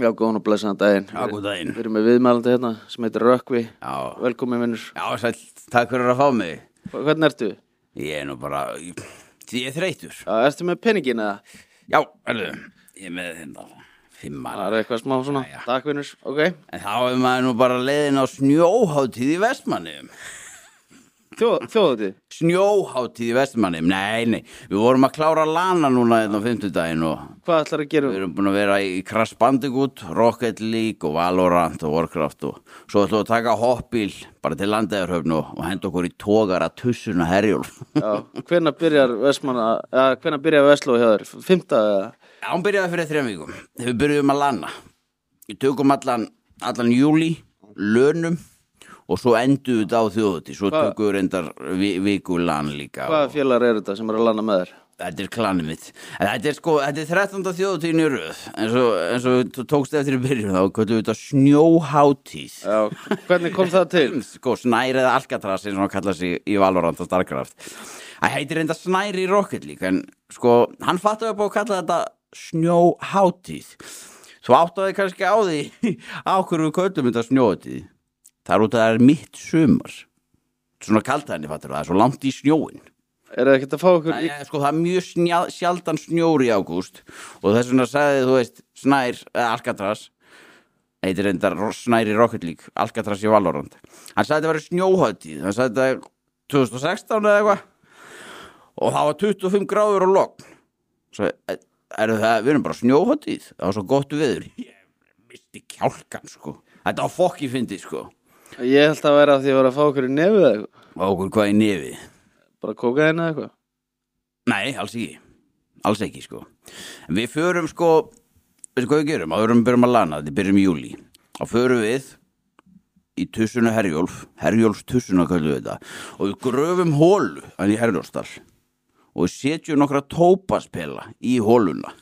Já, góðan og blessaðan daginn. Já, góðan daginn. Við erum með viðmælandi hérna sem heitir Rökkvi. Já, Velkomin vinnur. já, sæll, takk fyrir að fá mig. Hvernig ertu? Ég er nú bara, því ég er þreytur. Já, ertu með penningin eða? Já, erðu, ég er með hérna, fimmar. Það er eitthvað smá svona. Já, já. Takk vinnur, ok. En þá er maður nú bara leiðin á snjóháttíð í vestmannum. Þjóð, þjóðatið. Snjóháttíð í vestmannum, nei, nei. Við vorum að klára lana núna hérna á fimmtudaginn og Hvað ætlar að gera? við erum búin að vera í Crash Bandicoot, Rocket League og Valorant og Warcraft og svo ætlum við að taka hoppbíl bara til landeðarhöfn og, og henda okkur í tógar að tussuna herjólf. Já, hvenær byrjar Vestmanna, eða hvenær byrjar Vestló hjá þér? Fymta eða? Já, hún byrjaði fyrir þrejum vikum. Við byrjuðum að lana. Við tökum allan, allan júli, lönum og svo enduðum við þetta á þjóðuti. Svo Hvað- tökum við reyndar vi, viku lan líka. Hvaða félagar eru þetta sem eru að landa með þér? Þetta er klanið mitt. En þetta er sko, þetta er 13. þjóðutíðin í röð. En svo, en svo þú tókst eftir í byrjun þá, kvöldu við þetta snjóhátíð. Já, hvernig kom það til? Sko, snæri eða alcatraz eins og hann kallar sig í Valorant og Starcraft. Það heitir reynda snæri í Rocket League, en sko, hann fattu upp á að kalla þetta snjóhátíð. Svo áttaði kannski á því á hverju við köllum þetta snjóhátíð. Það er út að það er mitt sumar. Svona kalt henni fattur það, það er svo langt í snjóin. Er það ekkert að fá okkur? Það er, sko, það er mjög snjá, sjaldan snjór í ágúst og þess vegna sagði þú veist Snær, eða Alcatraz heitir reyndar Ro- Snær í Rocket League Alcatraz í Valorant hann sagði þetta verið snjóhættíð hann sagði þetta 2016 eða eitthvað og það var 25 gráður og logn svo e- eru það, við erum bara snjóhættíð það var svo gott viður ég misti kjálkan sko þetta var fokk í fyndi sko Ég held að vera að því að vera að fá okkur í nefið eða eitthvað. og okkur hvað í nefið Bara kóka eða eitthvað. Nei, alls ekki Alls ekki, sko En Við förum, sko Veistu hvað við gerum? Áðurum við byrjum að lana, þetta er byrjum í júli Þá förum við í tussuna Herjólf Herjólfs tussuna kallu þetta Og við gröfum hólu Þannig í Herjólfsdal Og við setjum nokkra tópaspela í hóluna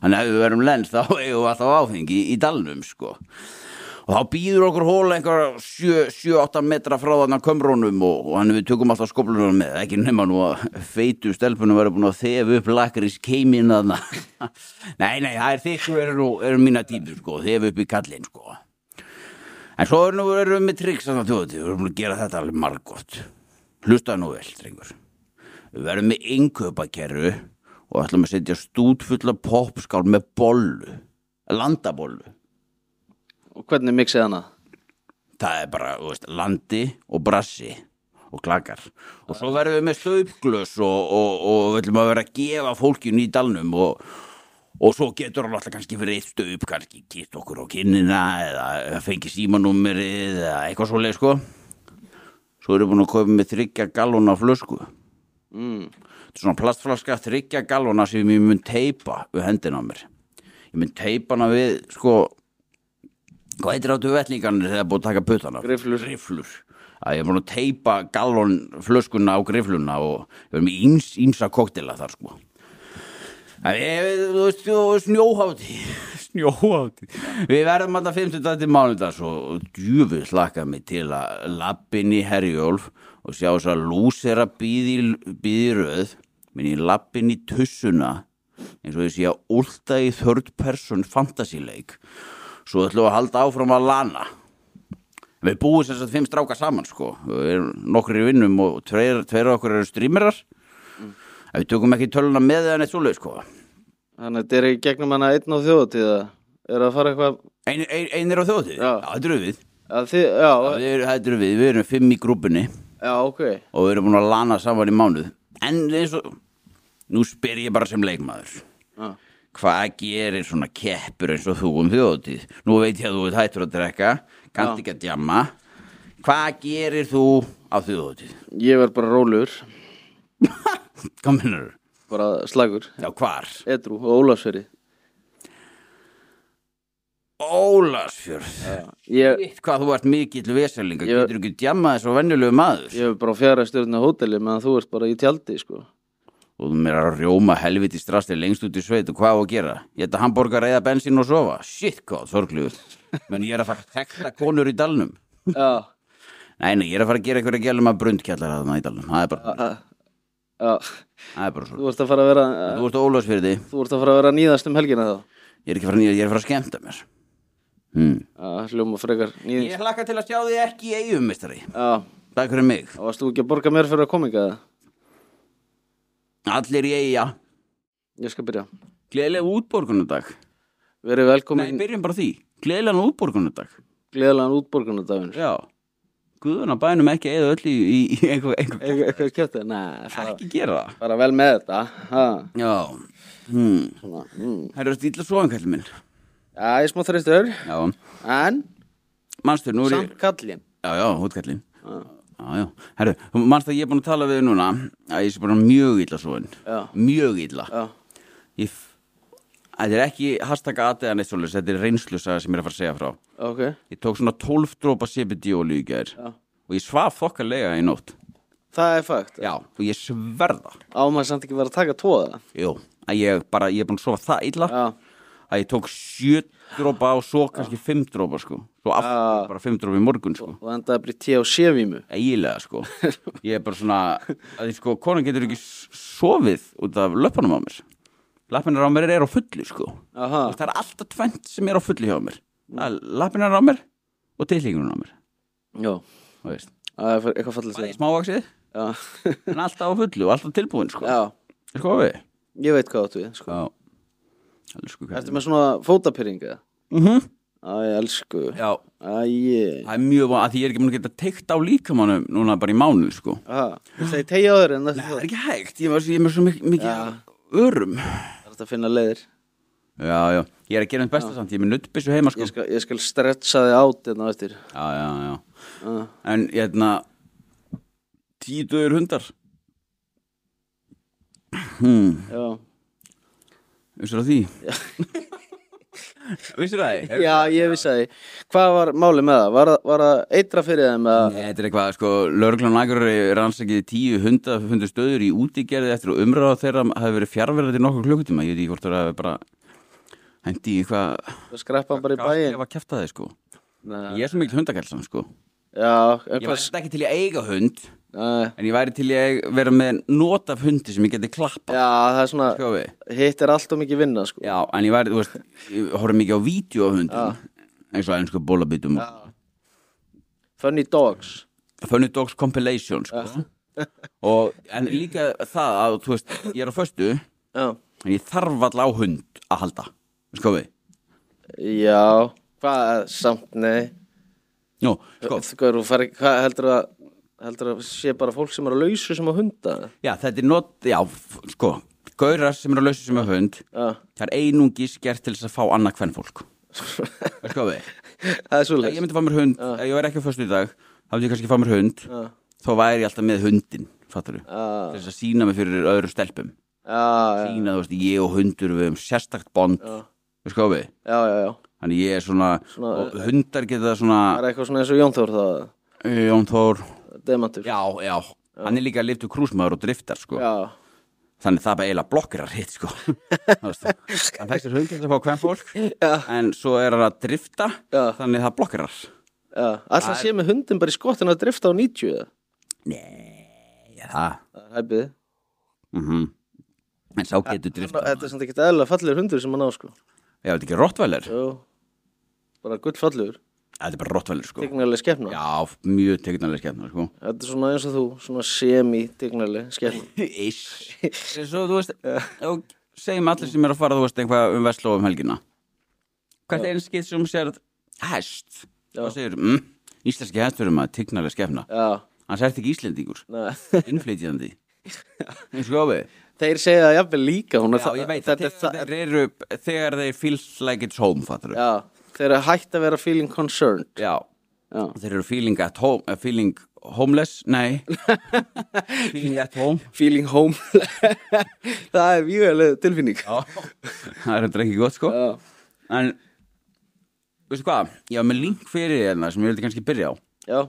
Þannig að ef við verum lens þá eigum við alltaf áfengi í dalnum, sko og þá býður okkur hóla einhver 7-8 metra frá þarna kömrónum og, og hann við tökum alltaf skoblunum með ekki nema nú að feitu stelpunum verður búin að þefa upp lakris keimin þarna nei, nei, það er þig sem eru, nú- eru mína tímur sko, þefa upp í kallinn sko en svo erum við, erum við með triks þarna þjóðutíð, við erum búin að gera þetta alveg margótt hlusta nú vel, drengur við verðum með innkaupakerru og ætlum að setja stútfulla popskál með bollu landabollu Og hvernig mixið hana? það er bara, þú veist, landi og brassi og klakar og svo verðum við með slöupglös og, og, og við ætlum að vera að gefa fólkinu í dalnum og, og svo getur hann alltaf kannski fyrir eitt stöp kannski kitt okkur á kinnina eða fengi símanúmerið eða eitthvað svoleið sko svo erum við búin að kaupa með þryggja gallona flösku mm. svona plastflaska þryggja gallona sem ég mun teipa við hendina á mér ég mun teipa hana við sko hvað heitir áttu vellingarnir þegar búið að taka puttana Grifflur. griflur að ég er búin að teipa gallon flöskuna á grifluna og við erum í íms, ímsa koktela þar sko að ég, þú veist, þú- snjóhátti snjóhátti við verðum alltaf 50 til mánudags og, og djúfu slakka mig til að lappin í Herjólf og sjá þess að lúsera býði, býði röð minn ég lappin í tussuna eins og ég sé að últa í third person fantasy leik svo ætlum við að halda áfram að lana Við búum sem sagt fimm stráka saman sko Við erum nokkur í vinnum og tveir, tveir af okkur eru strýmerar mm. Við tökum ekki töluna með eða neitt svoleið sko Þannig að þetta er í gegnum hana einn á þjóðatíða. Er það að fara eitthvað? Ein, ein, Einir á þjóðið? Já. þetta eru við Að þið, já, Við erum- Þetta eru við, við erum fimm í grúpunni já, ok. og við erum búin að lana saman í mánuð En eins og Nú spyr ég bara sem leikmaður Já. Hvað gerir svona keppur eins og þú um þjóðið? Nú veit ég að þú veit hættur að drekka Kannt ekki að djamma Hvað gerir þú á þjóðið? Ég verð bara rólur, Hvað minnur? bara slagur, Já, hvar? edru og ólafsverið. Ólasfjörð Ég, Eitt hvað þú ert mikill veselinga Eh. Ég- Getur ekki djamma þessu venjulegu maður ég er bara á fjara stjórna hóteli meðan þú ert bara í tjaldi, sko. Og þú meira að rjóma helviti strasti lengst út í sveit Og hvað á að gera? Ég ætla hambúrgar reyða bensín og sofa Shit hvað, sorgljúð Menn ég er að fara að tekta konur í dalnum Já, Nei, nei, ég er að fara að gera einhverja gælum að brundkjallar að það í dalnum, það er bara, Já, já, það er bara svo. þú ert að fara að vera Þú ert ólöfs fyrir því, Þú ert að fara að vera að nýðast um helgina þá ég er ekki að fara að nýja, ég er að fara að skemmta mér. Hmm. Já, hljóma frekar nýðings Ég hlakka til að sjá því ekki í eigum, mistari. Já, Takk fyrir mig. og varst þú ekki að borga mér fyrir að koma ekki að Allir í eiga. Ég skal byrja Gleðilega útborgunardag. Verið Nei, velkomin byrjum bara á því. Gleðilega útborgunardag. gleðilegan útborgunardaginn Já. Guðuna bænum ekki eða öll í, í, í einhver, einhver. Eitthvað kjöpti? Nei, fara, Ekki gera það. fara vel með þetta ha, Já. Hmm. svona, mm. Það eru að stíla svo kallið minn. Já, ég er smá þreistur Já. En, Manstu, nú er ég... samt kallin Já, já, hútkallin. Já, já. Herru, þú manst að ég er búin að tala við þig núna að ég sé bara mjög illa svo Já. Mjög illa. Já, Ég... f- Þetta er ekki hashtag aðeða neitt svolítið, þetta er reynslusaga sem ég er að fara að segja frá. ok Ég tók svona 12 drópa CBD olíu í gær Já. og ég svaf þokkalega í nótt. Það er fakt Já. Og ég sverða. Á maður samt ekki vera að taka tóða Jú. Að ég bara, ég er búin að sofa það illa Já, að ég tók 7 drópa og svo kannski 5 drópa sko. Svo Ah. aftur bara 5 drópa í morgun sko. og endaði að byrja tí á sévímu eiginlega sko ég er bara svona að ég sko konan getur ekki s- sofið út af löpunum á mér lappinar á mér er á fullu sko Aha, það er alltaf tvent sem er á fullu hjá mér lappinar á mér og tilhengurinn á mér já þú veist. Það er fyrir- eitthvað fallið það er segja smávaksið Já, en alltaf á fullu og alltaf tilbúin sko já sko við ég veit hvað áttu við Ah. sko. já elsku kallinn. Ertu með svona fótapyrringa? Mhm. Æ, elsku já Æ, það er mjög von- að því ég er ekki múin að geta teikt á líkamannum núna bara í mánu sko það er tegja öður en það það er ekki hægt ég, var, svo- ég er með svo mikið, mikið Já. örum er þetta að finna leiðir Já, já, ég er að gera hans besta samt, ég er með nuttbissu heima sko Ég skal, ég skal stretcha þig át hérna á eftir Já, já, já, uh, en ég hefna Tíu döður hundar Hmm, Já, vissur það því? vissur það því? já ég vissi að því Hvað var málið með það? Var, það- var það eitra fyrir þeim? Að... Nei, þetta er eitthvað, sko, lögreglan Akureyri rannsakið tíu hunda hundu stöður í útigerði eftir og umræða þeirra hafi verið fjarverðið til nokkur klukkutíma, ég veit ekki hvort það hafi bara hendi í eitthvað Það skreppa hann bara í bæinn Mm. Ég var að kæfta þeir, sko Nei. Ég er svo mikil hundakælsan, sko Já, en Ég var hvað þetta ekki til að eiga hund Nei. En ég væri til í að vera með not af hundi sem ég geti klappa Já, það er svona Sjófi Hitt er allt og mikið vinna sko Sko- Já, en ég væri, þú veist, ég horfði mikið á vídeo af hundin eins og einsku bólabítum Funny dogs Funny Dogs Compilation, sko og, en líka það að, þú veist, ég er á föstu en Já, ég þarf allá hund að halda Sko, Sjófi já Hvað, eh, samt nei Nú, sko, Hvað, fari, hvað heldur að heldur að sé bara fólk sem er að lausu sem að hunda já, þetta er not, já, f- sko Gaurar sem eru að lausa sem er hund Já, Það er einungis gert til þess að fá annað hvern fólk það Sjófi er Ef ég svolítið myndi að fá mér hund, ef ég væri ekki á föstu í dag þá myndi ég kannski að fá mér hund þá væri ég alltaf með hundin, fattar þú Já, þess að sína mig fyrir öðru stelpum já, já, sína, þú veist, ég og hundur við um sérstakt bond við skofi, já, já, já þannig ég er svona, Svona- eh, og hundar geta svona Það er eitthvað svona eins og Jón Þór það Jón Þór, Demantur já, já hann er líka liftu krúsmaður og driftar, sko já, þannig það bara eiginlega blokkirar hitt, sko Þú veist, hann fækst þér hundin til að fá hvern fólk Já. en svo er hann að drifta Já. þannig það blokkirar já. Alltaf sé með hundin bara í skottinu að drifta á 90 eða? já, það Það er hæpið mm en sá getur drift Þetta er samt ekki eðla fallegur hundur sem hann á sko já, þetta er ekki rottvælir Jú Bara gull fallegur þetta er bara rottvælir sko Dignaleg skepna já, mjög tegnarlega skemmtnar sko Þetta er svona eins og þú Svona semi-dignaleg skepna ish svo þú veist og segjum allir sem er að fara þú veist eitthvað um vestló um helgina hvert einskið sem sér hest Já. og segir mm, íslenski hesturum að tegnarlega skemmna Já, hann sært ekki íslendingur nei innflytjandi sko við Þeir segja það jafnvel líka hún er já, ég veit það þetta er það þeir eru þegar þeir feel like it's home fattur Já, þeir eru hægt að vera feeling concerned já Já, Þeir eru feeling at home, uh, feeling homeless, nei Feeling at home feeling home Það er mjög alveg tilfinning Já, Það er þetta ekki gott sko já, En, veistu hvað, ég var með link fyrir hérna sem ég vildi kannski byrja á já.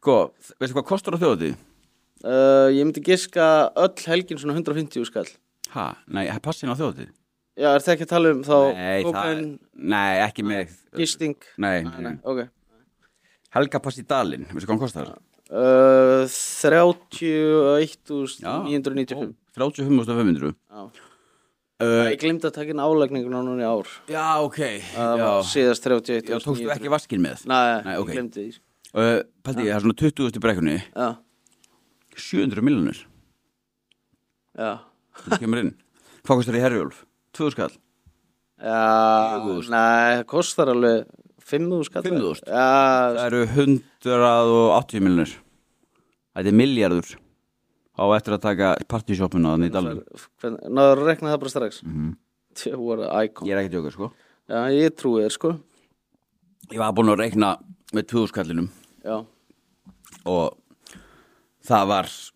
Sko, veistu hvað kostar á þjóðatíð? Uh, Ég myndi giska öll helgin svona 150 skall Ha, nei, passin á þjóðatíð? Já, er það ekki að tala um þá Nei, það, kókaín, nei, ekki með gisting Nei, Nei, ok Helgapass í Dalinn, veistu hvað hann kostar? uh, 31.995 Ó, 35.500 Já. uh, Ég glimti að taka inn álagninguna núna í ár Já, ok Það já. var síðast já, 31.995 tókstu ekki vaskin með Nei, Nei, ég ok. glimti því sko. uh, Paldi, það er svona 20.000 brekkunni Já, 700 miljonir já Það kemur inn Hvað kostar í Herjólf? 2 skall Já, Fjögur þúsund. nei, það kostar alveg 5.000 skall Fimm þúsund? Já, Það eru 180 miljonir Þetta er miljardur á eftir að taka partyshoppuna þannig í Dalinn hvern- náður að rekna það bara strax Mhm. Þau voru ækon Ég er ekki tjóka, sko Já, ég trúi þér sko Ég var búinn að reikna með 2 skallinum Já, og það var þú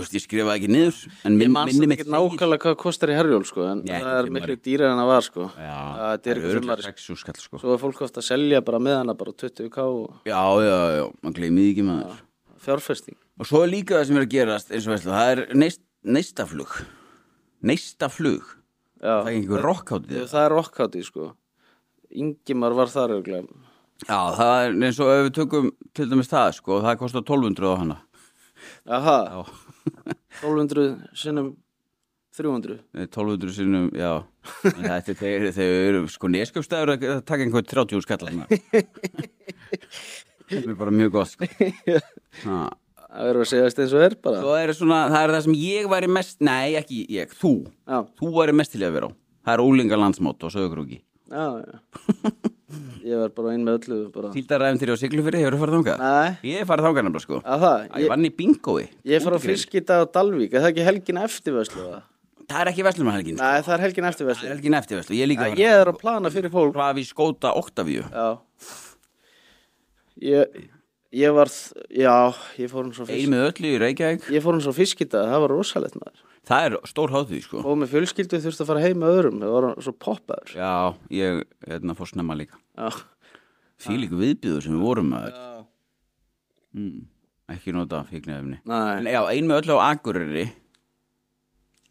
veist, ég skrifaði ekki niður en minn, mann minni sem mitt ekki nákvæmlega hvað kostar í herjól sko En Nei, það er ekki miklu dýrar en það var sko já, Það er eitthvað örugglega frumari. sex og skall sko. Svo er fólk ofta að selja bara með hana bara á 20k og já, já, já, mann gleymið ekki maður fjárfesting og svo er líka það sem er að gerast eins og veist, það er neist, neistaflug neistaflug Já. það er einhver rockhátt í Jú, það Það er rockhátti sko Ingimar var þar auðvitað já, það er eins og ef við tökum til dæmis það, sko, það kostar 1200 á hana Aha, já, 1200 sinnum 300 Nei, 1200 sinnum, já En þetta er þeir, þeir eru sko neskjöfstæður að að taka einhver 30 úr skallana það er bara mjög gott sko. ha. Það verður að segja eins og er bara svo er svona, það er það sem ég væri mest nei, ekki ég, þú Já, þú væri mest til í að vera á það er úlinga landsmót og sögurkrúki já, já Ég var bara inn með öllu bara. síldaræfintýri og siglufyrir, hefur farið þangað Nei, ég hef farið þangað nefnilega sko að það ég Ég, vann í bingói ég fór á fiskita á Dalvík Er það ekki helgin eftir veslu? eða? það er ekki veslumhelgin Nei, það er helgin eftir það veslu er helgin eftir veslu, ég er líka Ég er að plana fyrir fólk hrafi skóta Octavíu Já Ég, ég var þ- Já, ég fór hún svo fisk einu með öllu í Reykjavík Ég fór hún svo fiskita, það var rosalegt maður það er stór hátíð sko Og með fjölskyldu þurfti að fara heim með öðrum Það var hann svo poppaður Já, ég hérna fór snemma líka Já, Fýlíku viðbjöður sem við vorum að Já. mm, Ekki nota fíknefni En Nei, já, ein með öllu á Akureyri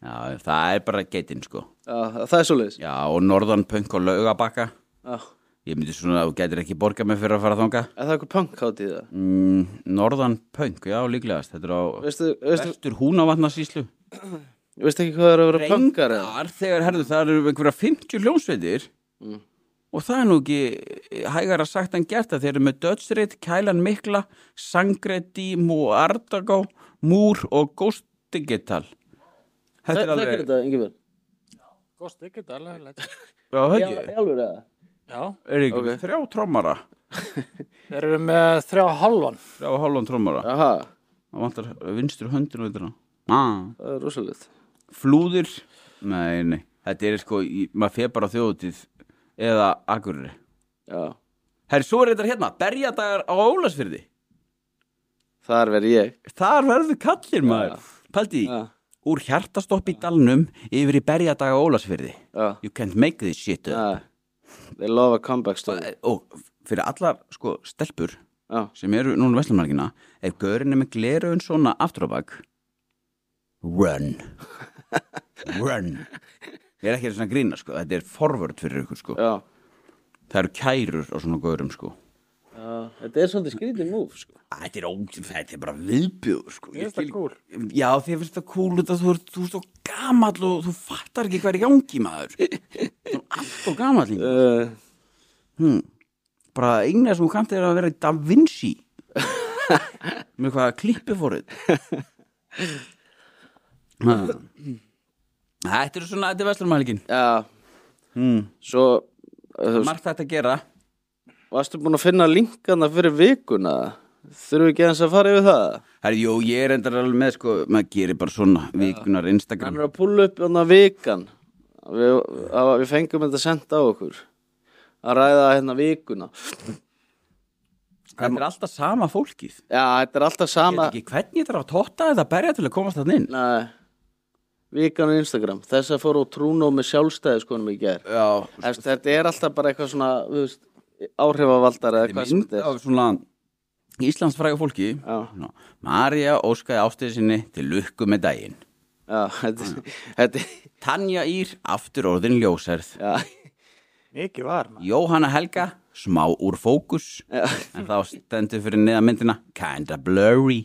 Já, það er bara getinn sko já, það er svo leiðis Já, og norðan punk og laugabakka Já, Ég myndi svona að þú getur ekki borga mig fyrir að fara þanga en það er eitthvað punk hát í það mm, Norðan punk, já, líklegast Þetta er á Veistu, veistu, vestur húnavatnarsýslu veistu ekki hvað það er að vera punkar eða? Reyndar, þegar herðu, það eru einhverja 50 hljómsveitir Mm. og það er nú ekki hægara sagt en gert að þeir eru með Dödsreit, Kælan Mikla, Sangretti, Mú Ardagó, Múr og Góstigetal. Þetta er Það er alveg... þetta, Ingibjörn Góðst ykkur, alveg leitt. Já, það Já, ekki. í alvöru eða? Já, Er ekki þrjá trommara, þeir eru með þrjá hálfan. þrjá og hálfan trommara. Aha, Það vantar vinstri höndinu veitur það. Ah. það er rosalegt Flúðir? Nei, nei. Þetta er sko, í- maður fer bara á þjóðutíð eða akkurir. Já, Herri, svo er þetta hérna, berjadagar á Ólasfyrði. þar verð ég Þar verður kallir maður Paldi, Já, úr hjartastopp í dalnum yfir í berjadaga ólasfyrði já, You can't make this shit já up They love a comeback story Og fyrir allar sko stelpur Já, sem eru núna veslamarkina ef gaurin er með glerun svona aftur á bak Run Run Ég er ekki svona að grína sko, þetta er forvörd fyrir ykkur sko já Það eru kærur á svona gaurum sko Já, þetta er svolítið skrítið múf sko. Æ, Þetta er, ó, þetta er bara viðbjöður sko. Mér finnst það skil- kúl. Já, þér finnst það kúl út að þú ert þú ert svo gamall og þú fattar ekki hvað er í gangi maður Þú er allt og gamall uh. uh, hmm. Bara eina sem þú kannt er að vera Da Vinci Með hvað klippi fórið Þetta er svona Þetta er vestlumælgin Já, hmm. svo uh, Margt þetta að gera Varstu búin að finna linkana fyrir vikuna Þurfum við ekki eins að fara yfir það Herri, jú, ég er endar alveg með sko, maður gerir bara svona vikunar Instagram Hann er að púla upp hann að vikan við, að, við fengum þetta sendt á okkur Að ræða hérna vikuna Þetta er alltaf sama fólkið Já, þetta er alltaf sama Ég veit ekki hvernig ég þarf að totta eða berja til að komast þannig inn Nei, Vikan á Instagram Þess að fóru á trúnó með sjálfstæði skoðum í gær Já, Efst, Þetta er alltaf bara eitthvað svona þú veist, Áhrifavaldar eða hvað sem mynd þetta er af svona Íslandsfræga fólki Já. Ná, Marja óskaði ástíð sinni til lukku með daginn Já, þetta, þetta Tanja Ír, aftur orðin ljósærð Já, Mikið var maður. Jóhanna Helga, smá úr fókus Já. en þá stendur fyrir neða myndina kinda blurry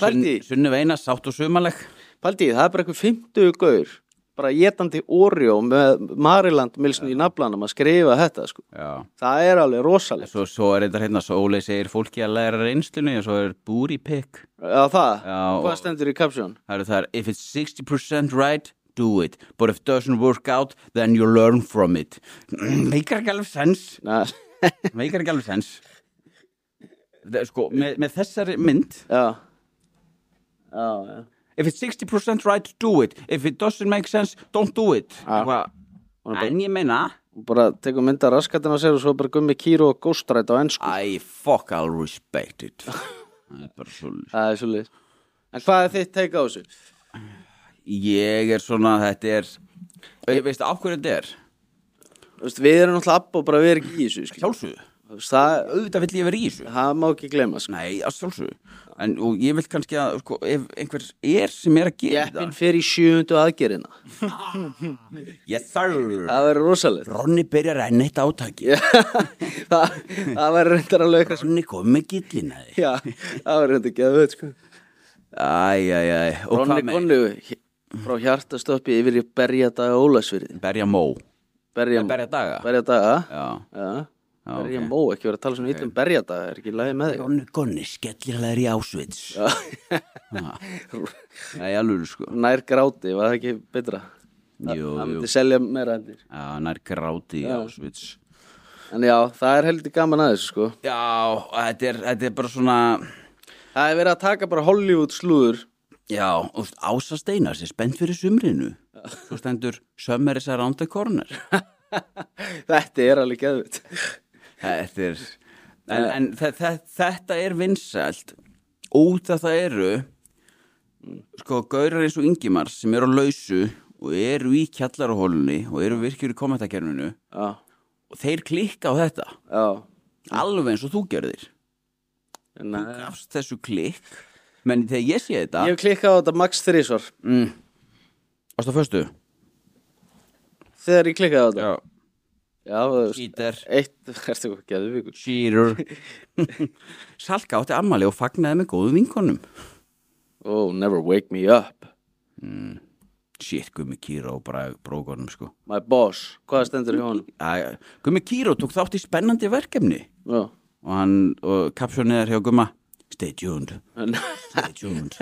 Pældi, í- Sunnu veina, sátt og sumaleg pældi, í, það er bara eitthvað 50 gaur bara getandi Oreo með Mariland milsnu í naflanum að skrifa þetta sko. Já það er alveg rosalegt Svo, svo er þetta hérna, svo Óli segir fólki að læra reynslunni og svo er búri pikk Já, það, Já, hvað og- stendur í kapsjón? Það eru þar, if it's 60% right, do it. But if it doesn't work out, then you learn from it. Meikar ekki alveg sens. Já, Meikar ekki alveg sens. Það er Sko, með, með þessari mynd, já, já, já. if it's 60% right, do it. If it doesn't make sense, don't do it. Já. Eitthvað- Hún er bara- En ég meina, bara tekur mynda raskatina sér og svo bara gummi kýru og góstræt á ennsku I fuck all respect it. Það er bara svo... Það er svolítið En hvað er þitt teika á þessu? Ég er svona, þetta er... Veistu, af hverju þetta er? Þú Veist, við erum náttúrulega abba og bara við erum ekki í þessu skilur. Sjálfsögðu. Þú veist, það, Auðvitað vill ég vera í þessu. það má ekki gleyma sko. Nei, að sjálfsögðu En og ég vil kannski að, sko, ef einhver er sem er að gera Jeppin fer í sjöundu aðgerina það Yes sir Það verður rosalegt Ronni byrjar enn eitt átaki Það, það verður reyndar alveg eitthvað Ronni kom með gillina þig Já, það verður reyndar ekki að veit sko. Æ, æ, æ Og Ronni hvað með? Konnu frá hjartastöppi yfir í berjadaga Ólasfyrði Berja mó Berja, Berja daga berjadaga Já Já, Já, berja ok. mó, ekki verið að tala svona okay. um berjadaga er ekki í lagi með þig Ronni Gonni skellir þær í ásvits Nei, alveg sko nær gráti, var það ekki betra Jú, það jú myndi selja meira endur Já, nær gráti í ásvits en já, það er heldur gaman aðeins sko. Já, þetta er, þetta er bara svona það er verið að taka bara Hollywood slúður Já, og þú veist, Ása Steinar sem er spennt fyrir sumrinu Svo stendur Summer is around the corner þetta er alveg geðvitt Þetta er En, en þe þe þetta er vinsælt út að það eru sko gaurar eins og yngimar sem eru á lausu og eru í kjallarahólunni og eru virkjur í kommentarkerfinu já, og þeir klikka á þetta já alveg eins og þú gerðir en, eh, þú gafst þessu klikk menn þegar ég sé þetta ég hef klikkað á þetta max 3 svar mm, Ástu að föstu? þegar ég klikkaði á þetta já, þú veist, Skítar eitt, ertu eitthvað geðvíkur Cheater Salka átti ammali og fagnaði með góðu vinkonum oh, never wake me up Shit, gummi kýra og bara brókonum sko my boss, hvað stendur hjá honum Æ, Gummi Kíró tók þátt í spennandi verkefni já, og hann, og kapsjónið er hjá Gumma Stay tuned, en stay tuned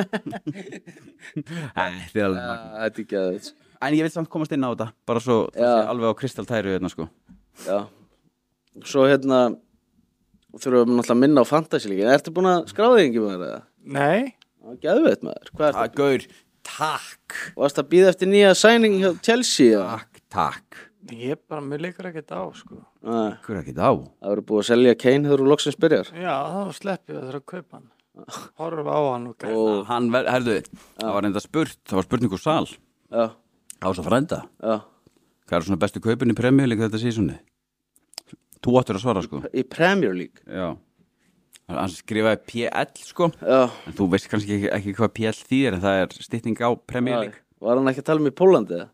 Æ, þetta er alveg magnað. þetta er geðvitt En ég vil samt komast inn á þetta bara svo, það Já. sé alveg á kristaltæru hérna sko Já Svo hérna þurfum við náttúrulega að minna á fantasíleikin Ertu búin að skráða þig ekki maður eða? Nei, Já, Geðveit maður, hvað ertu? Gaur, takk Varst að býða eftir nýja sæning hjá Chelsea eða? Takk, takk ég bara, mér leikur ekkert á, sko. Nei, Hver ekki þá? Það verður búið að selja Kane þegar þú loksins byrjar Já, þá slepp ég að það að kaupa hann. Horfa á hann og gæta. Ó, Hann, ver- herðu, það var reynda spurt það var spurning úr sal, já, það var svo frænda já Hvað er svona bestu kaupin í premjöleik þetta sísunni? Þú áttur að svara sko Í Premier League Já Hann skrifaði PL sko Já, En þú veist kannski ekki, ekki hvað PL þýðir en það er stytting á Premier Nei, League var hann ekki að tala um í Pólandi eða?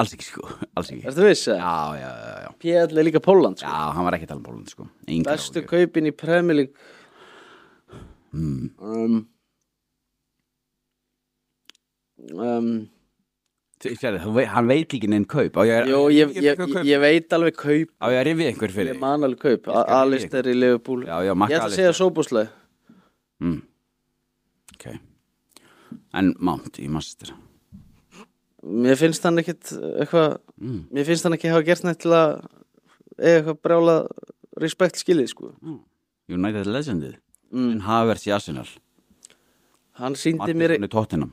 Alls ekki sko, alls ekki Já, Ertu viss eða? já, já, já PL er líka Póland Já, sko. hann var ekki að tala um Póland sko Engar Bestu áhyggjur. kaupin í Premier League mm. um, um, Þú- sérðu, þú vei- Hann veit ekki neinn kaup Á ég, Jó, ég, ég, ég, ég, ég veit alveg kaup á ég að rifja einhver fyrir Ég þig? man alveg kaup, skal rifja Alistair í Liverpool Já, já, Ég makka ætla að segja sóbúsleg mm. Ok En Mount í Master Mér finnst hann ekkit eitthvað mm. Mér finnst hann ekki hafa gert neitt til að eiga eitthvað brjála respekt skilið sko United Legendið Mm. En Havertz í Arsenal Hann síndi mér Martinsson í Tottenham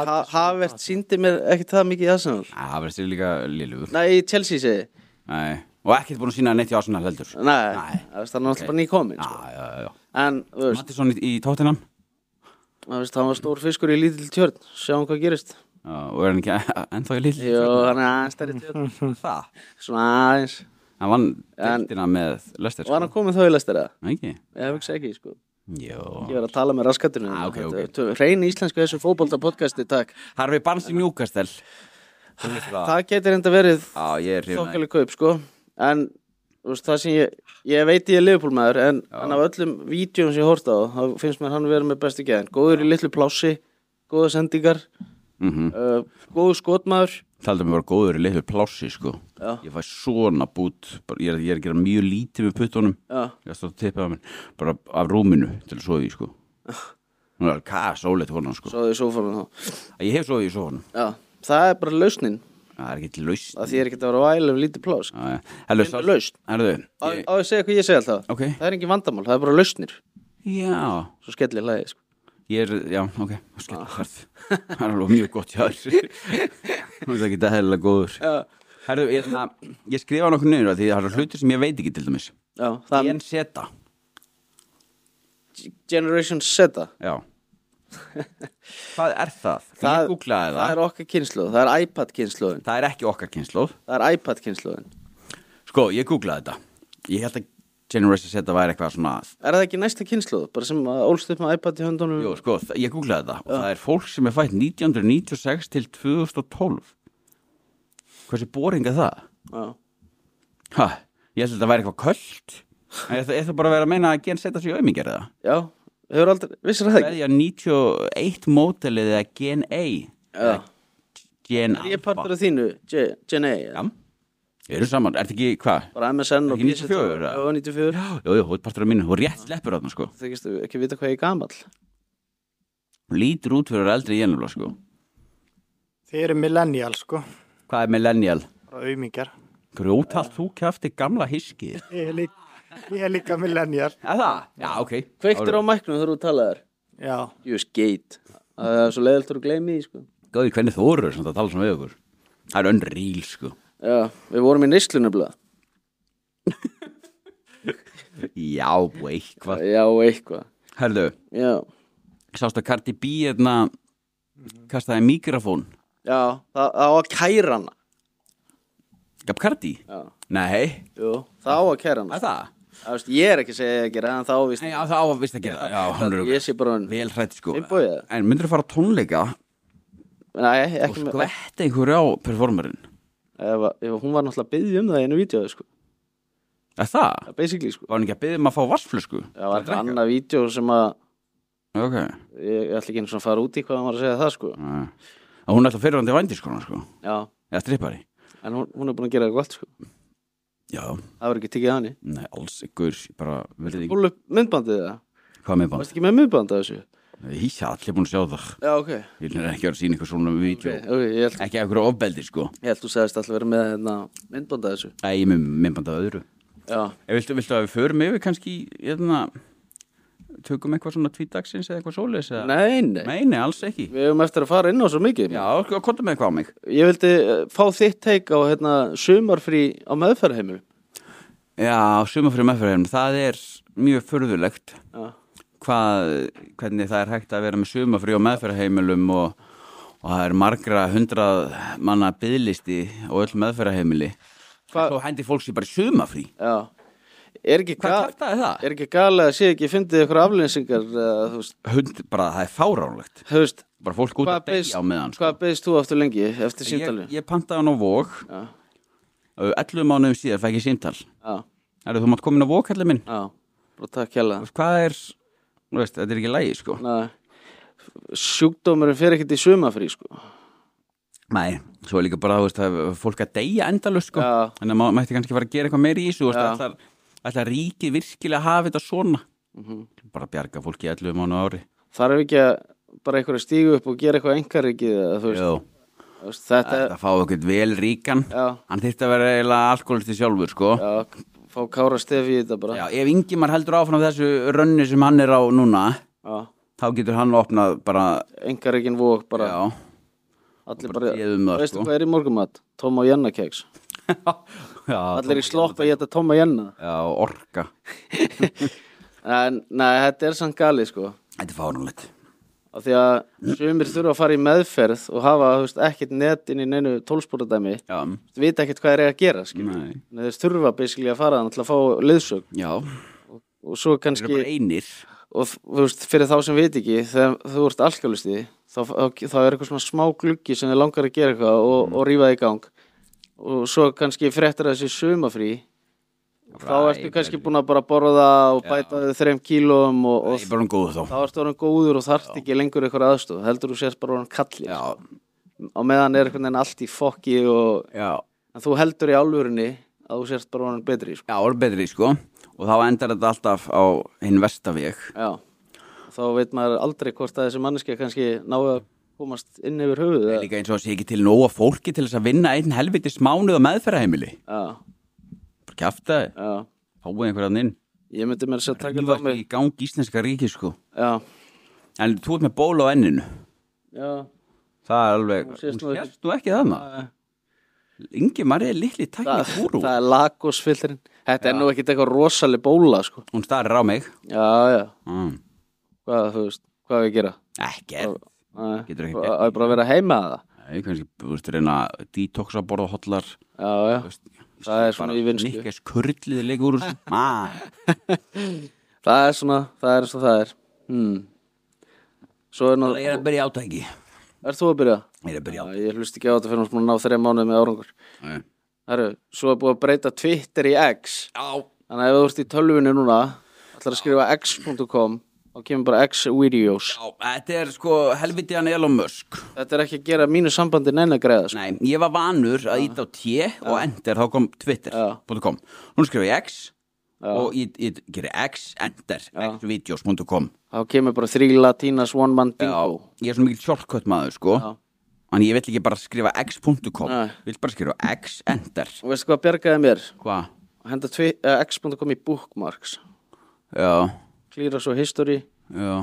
ha, Havert síndi mér ekkit það mikið í Arsenal Nei, Havertz er líka lilugur Nei, í Chelsea segi ég. Nei Og ekkert búin að sína neitt í Arsenal heldur Já, Nei, Nei. það veist, hann var alltaf bara nýkomin sko. já, já, já En, þú veist, Mattisson í, í Tottenham það veist, hann var stór fiskur í lítil tjörn Sjáum hvað gerist Já, og er hann ekki ennþá í lítið Jó, hann er aðeins stærri tjörn það Svona aðeins hann vann En- deltina með Lester Var sko. hann komið þá í lestir eða? ekki Ég hef ekki ekki sko Ég Jó. var að tala með raskatunum Ah, ok, ok. Hrein íslensku þessu fótbolta podcasti, takk Harfi Barnes í Newcastle Þú veist það Það getur enda verið Ah, já ég er hérna. hrifin þokkaleg kaup, sko en þú veist, það sem ég ég veit ég er liðbúlmaður en, en af öllum vídjum sem ég hórt á þá finnst mér hann vera með bestu geðin góður í litlu plássi, góða sendingar mm uh, góðu skotmaður Taldi að mér var góður í leifur plássi sko Já. Ég fæ svona bút bara- ég er, ég er að gera mjög lítið með puttunum já, Ég er stóð að tippa að minn Bara af rúminu til að sofa í sko Ah. Hún er alveg kæs ólegt konan sko svoðið sófanum þá Ég hef sofið í sofanum já, það er bara lausnin Það er ekki laust að því er ekki að vera væl ef lítið pláss Hellu, Finnur lausn. Herðu, á, Ah, ég, á að segja hvað ég segi alltaf ok það er ekki vandamál, það er bara lausnir Já, svo skellir lægi sko. ég er, já, ok Ah. Skellhverð Það er alveg mjög gott hjá þér Hún er ekki dæðilega góður já, Herðu, ég, na- ég skrifa nokkuð niður af Því það eru hlutir sem ég veit ekki til dæmis já, það Ég seta Generation Z Já Hvað er það? Það- ég googlaði það það er okkar kynsluð, það er iPad kynsluðin Það er ekki okkar kynnslóð það er iPad kynsluðin Sko, ég googlaði þetta Ég held að Generation Z væri eitthvað svona er það ekki næsta kynsluð, bara sem að ólst upp með iPad í höndunum Jú, sko, þa- ég googlaði þetta Og það er fólk sem er fætt 1996 til 2012 Hversu boring er það? Já. Ha, ég held að þetta væri eitthvað köld En ég ætla- ég ætla bara að vera að meina að Gen Z séu auðmingjar eða já, hefur aldrei, vissir það ekki Veðja 91 mótelið eða Gen A já, Gen ég er Alpha partur af þínu Ge- Gen A, Já ja. Eru saman, ertu ekki, hvað? bara MSN og Ekki 94, PC eða? og 94 Já, jú, jú, þú ert partur af mínu, þú rétt sleppur þarna sko það ekki, ekki vita hvað ég er gamall Hún lítur út fyrir eldri í ennumlega sko Þið eru millennial sko, Hvað er millennial? bara auðmingjar. Grjótalt þú kæfti gamla hiskið Ég er líka, ég er líka millennial. Er það? Já, ok kveiktir á mæknum þegar þú talaðar Já, jú, skeitt það er svo leiðiltur að gleymi því sko. Góði, hvernig þú eru sem það tala svona við okkur Það er unreal, sko já, við vorum í nýstlunum blað Já, bú, eitthvað já, eitthvað Herðu, já, sástu að Cardi B hérna kastaði mikrofón já það, það á að kæra hana Gaf Cardi? já, Nei, jú, það á að kæra hana er það? Það veist, ég er ekki að segja að gera en þá víst Nei, já, það á að vist að gera það. Já, hann ég er sé bara hann vel hrætt, sko Finnbogi, eða? En myndir þú fara á tónleika nei, og ekki með skvetta einhverju á performerinn ef, ef hún var náttúrulega að byggja um það í einu vídeo sko. Er það? basically sko. Var hann ekki að byggja um að fá vassflösku? það var eitthvað annað vídeo sem að Ok ég, ég ætla ekki einu svona að fara út í hvað hann var að segja það sko. Nei. Og hún er alltaf fyrirvandi vændiskona, sko já, Eða strippari en hún, hún er búin að gera eitthvað allt, sko. Já, það var ekki tekið að henni nei, alls ykkur bara verði ekki búin upp myndbandið það, hvað með bann varst ekki með myndbandið þessu Í, það er allir búin að sjá það já, ok, Ég er ekki að vera að sína ykkur svona með vídeo okay, okay ég, held, Ekki að ykkur ofbeldi, sko ég held þú segðist alltaf verið með hérna, myndbandið þessu Æ, ég er með minnbanda öðru já, Ég Eh, viltu, viltu að við förum yfir kannski hérna, Tökum eitthvað svona tvítagsins eða eitthvað svoleiðis eða? nei, nei, Nei, nei, alls ekki við höfum eftir að fara inn á svo mikið Já, sko, kontum með eitthvað á mig ég vildi eh, fá þitt teik á hérna, sumarfrí á meðferðheimil Já, sumafrið meðferðum, það er mjög furðulegt já, hvað, hvernig það er hægt að vera með sumafrí og meðferðarheimilum og, og það er margra hundrað manna byðlisti og öll meðferðarheimili Hva- Svo hendi fólk sér bara í sumafrí já Er ekki, Hvað ga- kæftaði það? er ekki galið að sé ekki fyndið ykkur aflýsingar uh, þú veist, Hund, bara það er fáránlegt þú veist bara fólk út hvað að deyja á meðan sko. beðst- hvað beðist þú aftur lengi eftir símtalið ég, ég pantaði hann á Vóg já, 11 mánuðum síðan fæk ég símtal já, Erðu þú mátt komin á Vóg, heldur minn? já, bara takk hella Þú veist, Hvað er, þú veist, þetta er ekki lægi sko sjúkdómurinn fer ekkert í sumafrí sko. Nei, svo er líka bara, þú veist, það er fólk að deyja endalust, sko. Já. Þannig að maður mætti kannski fara að gera eitthvað meira í þessu, þú Já. veist, ætlar, ætlar ríkið virkilega að hafa þetta svona. Mhm. Bara bjarga fólki í 11 mánu ári. þarf ekki að bara einhverja stígu upp og gera eitthvað engarrikið Jú, þetta þetta fá okkur vel ríkan. já, Hann þyrfti að vera eiginlega alkoholisti sjálfur, sko. Já. já, fá kára stefi í þetta bara já, ef Ingimar heldur áfram þessu rönni sem hann er á núna, þá getur hann opnað bara, engarrikin vók bara já, allir bara bara, séðum það, veistu sko. hvað er í morgumat Tom og Jenna keks já, allir í slopp að geta Tom og Jenna já, orka. en nei, þetta er samt galið sko Þetta er fárunlegt. af því að sumir þurfa að fara í meðferð og hafa þú veist, ekkert net inn í neinu tólsporadæmi Já, vita ekkert hvað er að gera skilur. nei, Nei, þeir þurfa basically að fara þannig til að fá liðsög já, og svo þeir kannski, eru bara einir. og f- þú veist, fyrir þá sem veit ekki þegar þú ert Mm. alkjálustið þá, þá, þá er eitthvað svona smá gluggi sem þið langar að gera eitthvað og, og rífa það í gang og svo kannski fréttir þessi sumafrí þá ertu kannski búin að bara borða og bæta þau þreim kílóum og, Ég er og bara um góð þá þá ertu orðin góður og þarft ekki lengur eitthvað aðstóð heldur þú sést bara orðin kallir Já, á meðan er einhvern veginn allt í fokki og já en þú heldur í álfurinni að þú sért bara orðin betri sko. Já, orð betri sko Og þá endar þetta alltaf á hinn vestaveg já þá veit maður aldrei hvort að þessi manneskja kannski náðu að komast inn yfir höfuð Það er líka eins og að sé ekki til nóga fólki til þess að vinna einn helviti smánuð á meðferðaheimili já, Bara kjafta þið, já fáið einhverjan inn ég myndi mér að taka Lífa það mig ekki í gang íslenska ríki sko já, En þú ert með bóla á enninu já Það er alveg, Hún sést hún nú ekki- sést nú ekki það maður Ingi Marja er litli tækni það, kúru það er lagosfiltrin Þetta er nú ekkit eitthvað rosaleg bóla sko. Hún starir á mig Já, já, mm. hvað, þú veist, hvað á ég að gera Ekkert Nei, Getur ekki bara- gert Það er bara að vera heima að það Nei, kannski, þú veist, reyna að detoxa borða hotlar Já, já, Það er svona í vinnslu. Nikkas kurlið leikur úr þessu. ah, það er svona, það er eins og það er hmm. Svo er Ég er náttúrulega að byrja í átæki Ég Er þú að byrja? er að byrja í Já, ég hlust ekki á þetta fyrir að ná þreja mánuð með árangur átæki Herru, svo er búið að breyta Twitter í X Já, Þannig að ef þú ert í tölvunni núna ætlar að skrifa x.com þá kemur bara x-videos já, þetta er sko helviti hann Elon Musk Þetta er ekki að gera mínu sambandi neina greiða sko. Nei, ég var vanur að íta á T og enter, þá kom Já. twitter.com Nú skrifa ég X Já. og ég, ég gerir X, enter, xvideos.com Þá kemur bara þrý latinas one man Já, bingo ég er svo mikil shortcut maður sko Já. En ég vill ekki bara skrifa x.com Nei. Vill bara skrifa x, enter Og veistu hvað bjargaði mér? Hva? Henda tvi- eh, x.com í bookmarks Já, Klýra svo history já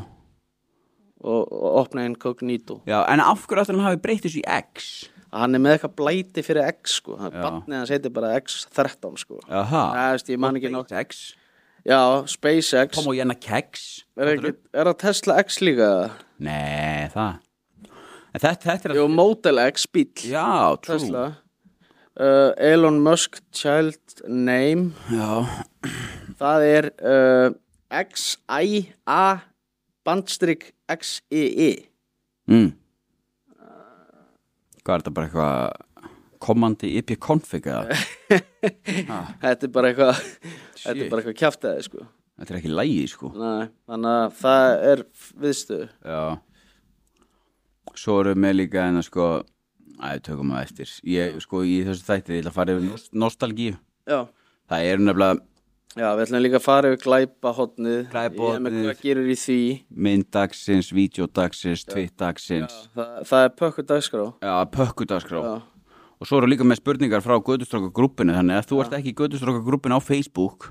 og, og opna incognito Já, en af hverju aftur hann hafi breytt þessu í X? Hann er með eitthvað blæti fyrir X sko Það Já. er Barnið hans heitir bara X13 sko Jaha Það veist, ég man ekki nátt X Já, SpaceX Tom og Jenna Kex Er, ekki, er það Tesla X líka? Nei, það En þetta, þetta er Jú, Model X bíll Já, trú Tesla uh, Elon Musk Child Name Já, Það er uh, XIA bandstrik E XII mm. Hvað er þetta bara eitthvað Kommandi IP config eða? Þetta er bara eitthvað Þetta er bara eitthvað kjaftaði sko Þetta er ekki lægi sko Nei, Þannig að það er viðstöðu Já Svo erum við með líka en að sko Æ, tökum við eftir Ég, sko, í þessu þætti, ég ætla að fara yfir nost- nostalgíu Já Það eru nefnilega Já, við ætlum líka að fara yfir glæpahotnið Glæpahornið. Ég er með hvað gerir í því mynddagsins, vídeodagsins, tvittdagsins Það, það er pökkur dagskrá Já, pökkudagskrá Já. Og svo eru líka með spurningar frá Götustrókagrúppinu Þannig að ef þú ert ekki í Götustrókagrúppinu á Facebook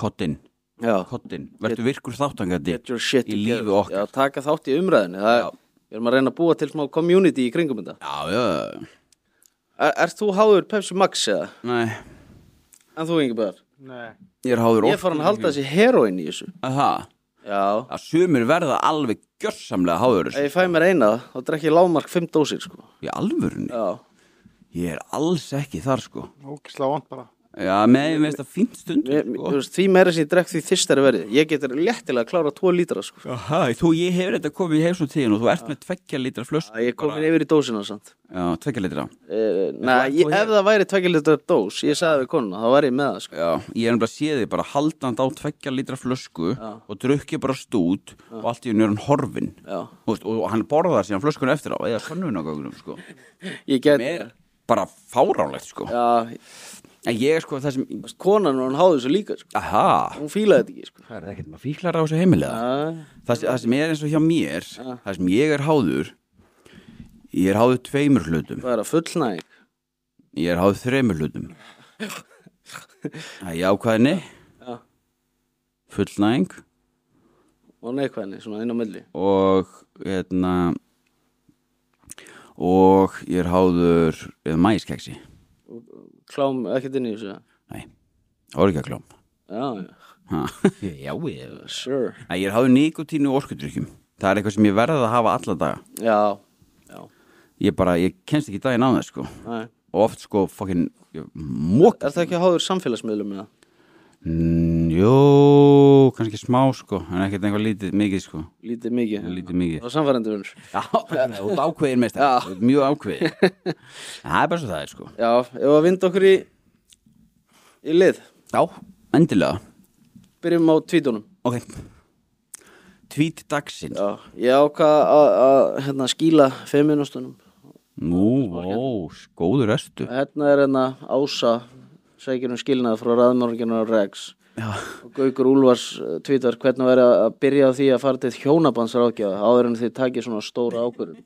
Kottinn, Já kottinn Vertu virkur þáttangandi Get your shit Í lífi together. okkar. Já, taka þátt í umræðinu Það Já. er, við erum að reyna að búa til smá community í kringum þetta Já, já, Er, ert þú háður Pepsi Max eða? nei En þú yngi bara Nei, Ég er háður Ég er farin að halda þessi heroin í þessu Aha, Já að sumir verða alveg gjörsamlega háður Ef þessu. ég fæ mér eina þá drekk ég lágmark fimm dósir sko Í alvörunni, Já ég er alls ekki þar sko ókislega vant bara Já, með mér finnst það fínt Mér- stundur mér- sko. Þú veist, því meira sem ég drekk því þyrstari verið Ég getur léttilega að klára 2 lítra sko. Aha, þú, ég hefur þetta komið í heimsum tíðin og þú ert með tveggja litra flösku Ég er komin yfir í dósina samt Já, tveggja litra uh, Nei, ég, ef það væri 2 lítra dós Ég sagði við konuna, þá væri ég með það sko. Já, ég er nefnilega séð þig bara haldand á tveggja litra flösku og drukkið bara stút og allt í hennu er hann horfin Já. og, og hann borðaði síðan flöskun eftir á eða sönnun á gögnum sko Ég get Mér, bara fáránlegt sko Já, En ég er sko það sem, þú veist, konan hún háði þessu líka sko. aha Hún fílaði þetta ekki sko. Það er ekkert maður fíklar á þessu heimilega Já, það, sem- það sem er eins og hjá mér það sem ég er háður ég er háður tveimur hlutum Það er að fullnæg ég er háður þreimur hlutum það er jákvæðni Já. fullnæðing og neikvæðni, svona inn á milli og hérna og ég er háður eða mæskeksi Klám ekkert inn í þessu Já, nei, orgaklóm já, já, ég sure Nei, ég er háður nikotínu og orkudrykkjum það er eitthvað sem ég verða að hafa alla daga Já, já, ég bara, ég kennst ekki daginn á það sko næ og oft sko, fokkin móka Er það ekki háður samfélagsmiðlum með það? Mm, Jó, kannski smá sko En ekkert eitthvað lítið mikið sko lítið mikið Lítið mikið og samfærandi vinnur Já, þú ert ákveðin meist Já. Mjög ákveðin Það er bara svo það er sko já, ef að vinda okkur í í lið, Já, endilega byrjum á tvítunum Ok Tweet dagsins já, ég ákvað að að, hérna, skýla feminustunum Nú, ó, góður östu hérna er hérna Ása sækir um skilnað frá raðmörgjörnur Rex Já, og Gaukur Úlfars eh, tvítar hvernig væri að að byrja á því að fara til hjónabandsrákjaða áður en þið takir svona stóra ákvörðun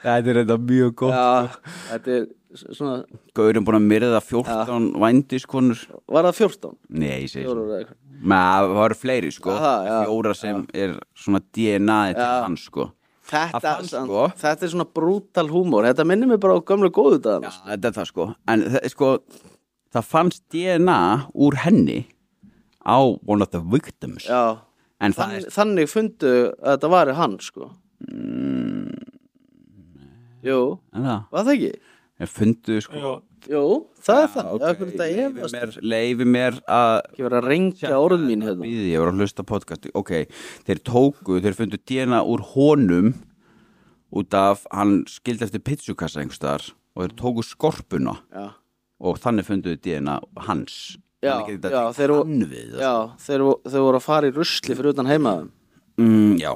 þetta er þetta mjög já, þetta er s- svona Gaurin búin að myrða 14 vændiskonur var það 14? Nei, ég segi Fjórar svona eða eitthvað. Maður, það eru fleiri sko Aha, já, Fjóra sem er svona DNA-ið til Já. hans sko Það Þetta, fannst, samt- sko. þetta er svona brútal húmór Þetta minnir mig bara á gömlu góðu dagana Já, þetta er það sko En það, sko, það fannst DNA úr henni á one of the victims Já, En það Þann, þannig fundu að þetta var hann sko Mm, Jú, er en það var það ekki? En fundu sko Jó, Jú, það er það Já, hvernig þetta Leyfi efast mér, leyfi mér að Ekki verið að rengja orð mín hérna Við, ég var að hlusta á podcast Ok, þeir tóku, þeir fundu DNA úr honum Út af, hann skildi eftir pizzukassa einhverstaðar Og þeir tóku skorpuna Já, Og þannig funduðu DNA hans Já, Þannig geti þetta já, tengt þeir voru- hann við það. já þeir, vo- þau voru að fara í rusli fyrir utan heimaðum mm, já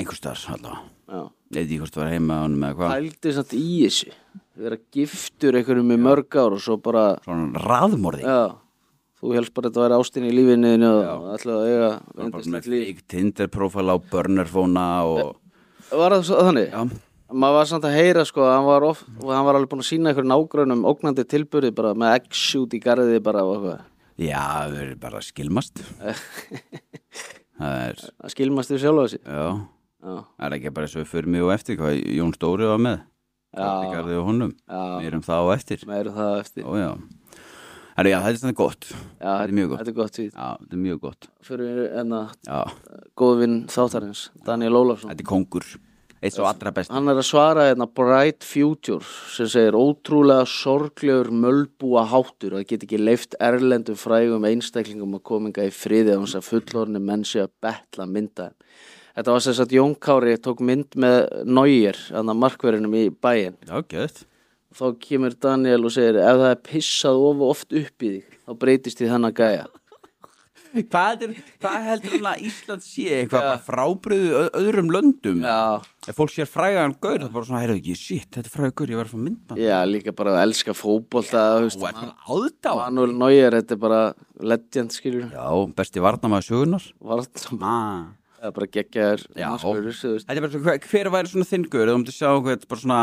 einhverstaðar allavega Já, Ég veit ekki hvort það var heima á honum eða hvað hældi samt í þessu Verið að giftur einhverjum í mörg ár og svo bara Svona raðmorði Já, þú helst bara að þetta væri ástin í lífinu þínu og ætlaði að eiga Bara yndislegt með líf. fake Tinder profile á burnerfóna og Var það svo þannig? Já. Maður var samt að heyra sko, að hann var, oft, og hann var alveg búin að sína einhverjum nágrunum ógnandi tilburði bara með eggs út í garði bara og eitthvað. Já, það er bara að skilmast Það er, Það skilmast þið sjálf á þessi. já Já, Það er ekki bara eins og við fyrir mig og eftir hvað Jón Stóri var með Gardigarði og honum Já. Mér um það og eftir meður það eftir. Ó já Herra, já, þetta er svona gott Já, Þetta er mjög gott Já, Þetta er gott því. þetta er mjög gott Fyrir hérna, enna Já, góðvinn þáttarins, Daniel Ólafsson. þetta er kongur Eitt svo allra best Hann er að svara hérna Bright Future sem segir ótrúlega sorglegur mölbúa háttur og það get ekki leift erlendum frægum einstaklingum að kominga í friði á hans að fullorni mennsi að betla mynda. þeim. Þetta var sem sagt Jón Kári tók mynd með Nóir, hann að markverðinum í bæinn. Já, gett Þá kemur Daniel og segir ef það er pissað of oft upp í þig þá breytist þið þannig að gæja. Hvað, er, hvað heldur hún að Ísland sé eitthvað ja. frábriðu öðrum löndum? Já, Ef fólk sér frægan gaur, það er bara svona, heyrðu ekki, shit, þetta er frægan gaur, ég var að fá myndband. já líka bara að elska fótbolta, þú veist, Þú ert bara áðdáð. Manuel Neuer, þetta er bara legend, skilur, Já, besti varnamaður sögunar. vartum Ah. Það er bara geggjaður Já. markvörður, þú veist. Þetta er bara svona, hver, hver væri svona þinn gaur, þú mútti sjá hvað, bara svona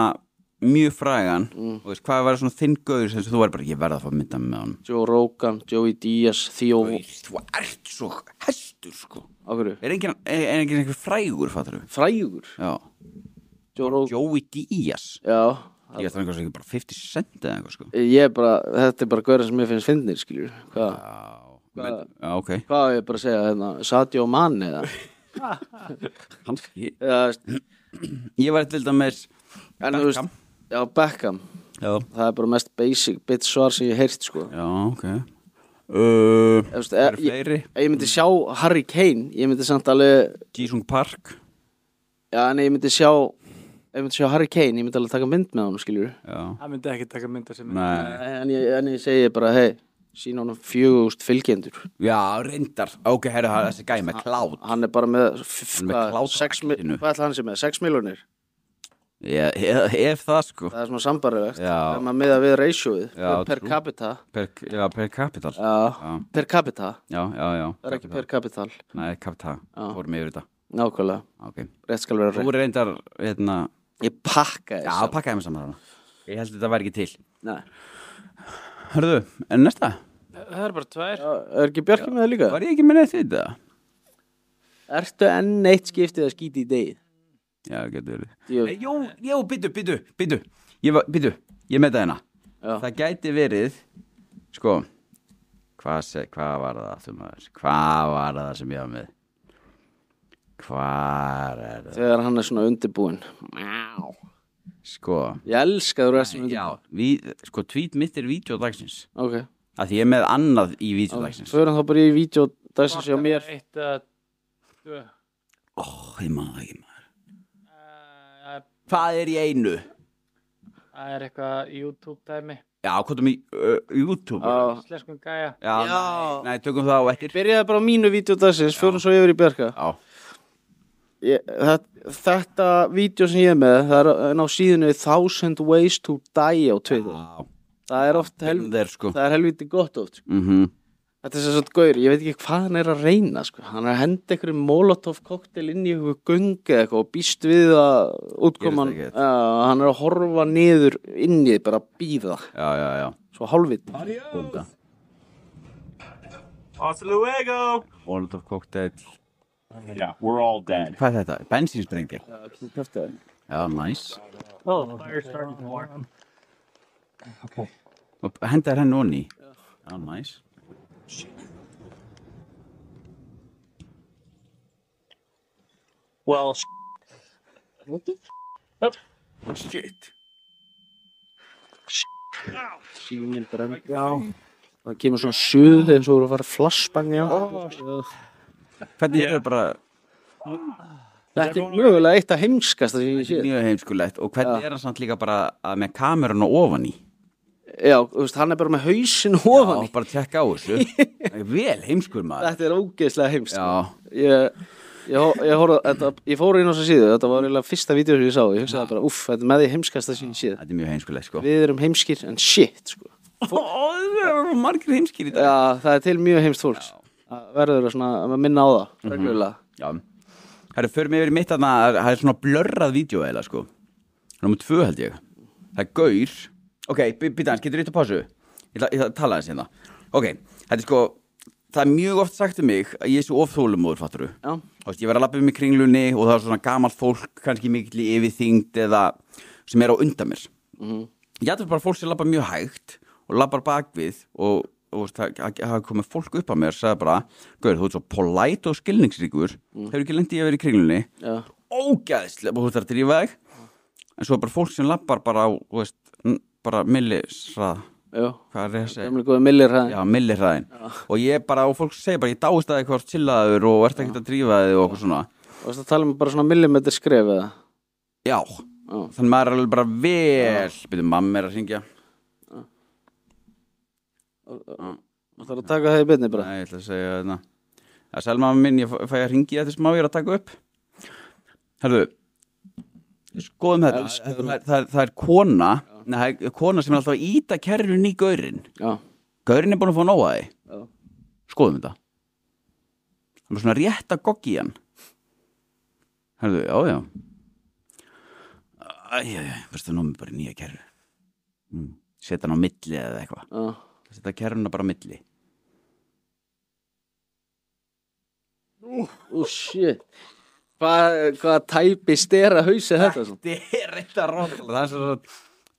mjög frægan, og veist, hvað væri svona þinn gaur sem þú væri bara, ég verða að fá myndband með honum. Joe Rogan, Joey Diaz, Theo Þú ert svo hestur, sko. Ákveður, Er enginn, er, er enginn einhver frægur, fattur við? frægur Já. Joe Rogan, Joey Díaz. já Ég ætla einhvers ekki bara 50 cent eða eitthvað, sko. Ég er bara, þetta er bara gaurið sem ég finnst fyndnir, skilur Hvað, Já, men- já, ok. hvað á ég bara að segja, hérna, Sadio Mane eða Kannski. Eða, þú veist, Ég var eitthvað með En þú veist, já, Beckham Já, Það er bara mest basic bit svar sem ég hef heyrt, sko já, ok uh, Þú veist, Það eru ég- fleiri Ef ég myndi sjá Harry Kane, ég myndi samt alveg Jisung Park Já, en ég myndi sjá Ef ég myndi sjá Harry Kane, ég myndi alveg taka mynd með honum, skilur Já, það myndi ekki taka mynda sem mynd. nei En ég, en ég segi bara, hei, sína honum fjögust fylgjendur Já, reyndar Ok, herru, það er þessi gæði með klátt hann er bara með, f- Hann er með hvað, klát á sex, mi- axlinu. hvað ætla hann sem með, 6 miljonir Ég, ef, ef það sko það er svona sambarlegt Já. ef maður miða við ratioið Já, per trú. capita per, Já, per capital Já, já, per capita, já, já það er ekki per capital Nei, capital Fórum yfir þetta nákvæmlega, Ok rétt skal vera Þú rétt er reyndar, hérna ég pakka Já, pakkaði mig saman þarna Ég held að þetta væri ekki til þess Hörðu, en næsta Það er bara tvær. er ekki Björki með það líka Var ég ekki með neitt við þetta? ertu enn eitt skiptið að skýti í degi Já, getur verið Jú, Nei, Jó, jó, byttu, byttu, byttu Ég, var- byttu, ég með það hérna Já. Það gæti verið Sko Hvað, se, hvað var það aftur maður Hvað var það sem ég var með Hvar er það þegar hann er svona undirbúinn Sko ég elska þú ræðst sko, Já, við, sko, tweet mitt er vídeo dagsins ok, að því ég er með annað í vídeodagsins Förum þá bara í vídeo dagsins hjá Hvort mér er Eitt eða tvö. Ó, ég maður það ekki maður Eh, Hvað er í einu? Það er eitthvað YouTube dæmi. Já, hvað er í uh, YouTube? Já. Sleskum gæja. já, Já. Nei, nei, tökum það á eftir Byrjaði bara á mínu vídeo dagsins, förum svo yfir í Bjarka Já, Ég- þet- Þetta vídeo sem ég er með Það er en á síðinu 1000 ways to die á Twitter já. Það er oft Helm helviti, þeir sko það er helviti gott oft sko. mm Þetta er svo gaur, ég veit ekki hvað hann er að reyna sko. Hann er að henda einhverjum molotov koktel inn í einhverju gungi eða eitthvað og býst við að útkoman Gerist uh, ekkert. Hann er að horfa niður inn í bara að býða Já, já, já Svo hálfvit Bónda Hasta luego. Molotov cocktail Yeah, we're all dead. Hvað er þetta? Bensinsdrengja? Þetta Já, næs Fire starting war. Og Hendar henni onni Já, næs Well, sh- Sýnin brenn Það kemur svona suð eins og voru að fara flashbang í hann. Hvernig er þetta bara Þetta er mögulega eitt af heimskast sem ég sé mjög heimskulegt og hvernig er hann samt líka bara að með kamerun og ofan í Já, þú veist, hann er bara með hausin ofan í Já, bara tjekka á þessu Vel heimskur maður Þetta er ógeðslega heimst Já, ég, ég, hor- ég, horf, þetta, ég fór inn á þessa síðu þetta var eiginlega fyrsta vídeo sem ég sá ég hugsaði bara, uff, þetta er með því heimskasta sem ég séð þetta er mjög heimskulegt sko við erum heimskir en shit sko. Ó, það eru margir heimskir í dag já, það er til mjög heimst fólks Það verður að, svona, að minna á það Mhm. reglulega Já Það er fyrir mig yfir í mitt að það er svona blörrað vídeo eða sko Númer tvö held ég Það er gaur Ok, býta hans, getur þú ít að pásu? Ég ætla ég ætla að tala hans hérna Ok, þetta er sko Það er mjög oft sagt um mig að ég er svo ofþólumóður fatturu já, Þú veist, ég var að lappa um í kringlunni og það var svona gamalt fólk, kannski mikil yfirþyngd eða sem er á undan mér. Mhm. Ég ætlum bara fólk sem lappa mjög hægt og lappar bakvið og, og þú veist, það það- það komið fólk upp að mér og sagði bara, gauður, þú ert svo polæt og skilningsríkur, hefur ekki lengt í að vera í kringlunni, já, ógæðislega, og þú þarf að drífa þig, en svo er bara fólk sem lappar bara á, þú veist, n- bara millisrað, já hvað er það að segja? Gamli góði millir hæðin Já, millirhraðin Og ég bara, og fólk segir bara, ég dáist að eitthvað chillaður og ert ekkert að drífa þig og okkur svona og það tala um bara svona millimetri skref eða Já, Já. þannig maður er alveg bara vel Byrðu, mamma er að syngja og það er að taka það í byrni bara Nei, ég ætla að segja þetta Það sæl mamma minn, ég fæ- fæ að ringi þetta sem má ég er að taka upp Herðu Skoðum þetta það, er- það, er- það er kona Nei, það er kona sem er alltaf að íta kerrun í gaurinn já, Gaurinn er búin að fá nóa því já, Skoðum þetta Það er svona rétt að goggi hann Herðu, já, já Æjæjæ, veistu, nú er mér bara í nýja kerru mm. Seta hann á milli eða eitthvað já. Setta kerruna bara á milli Ú, shit hvað hva tæpi stera hausi þetta svona? Þetta er eitthvað ráðlega Það er svo að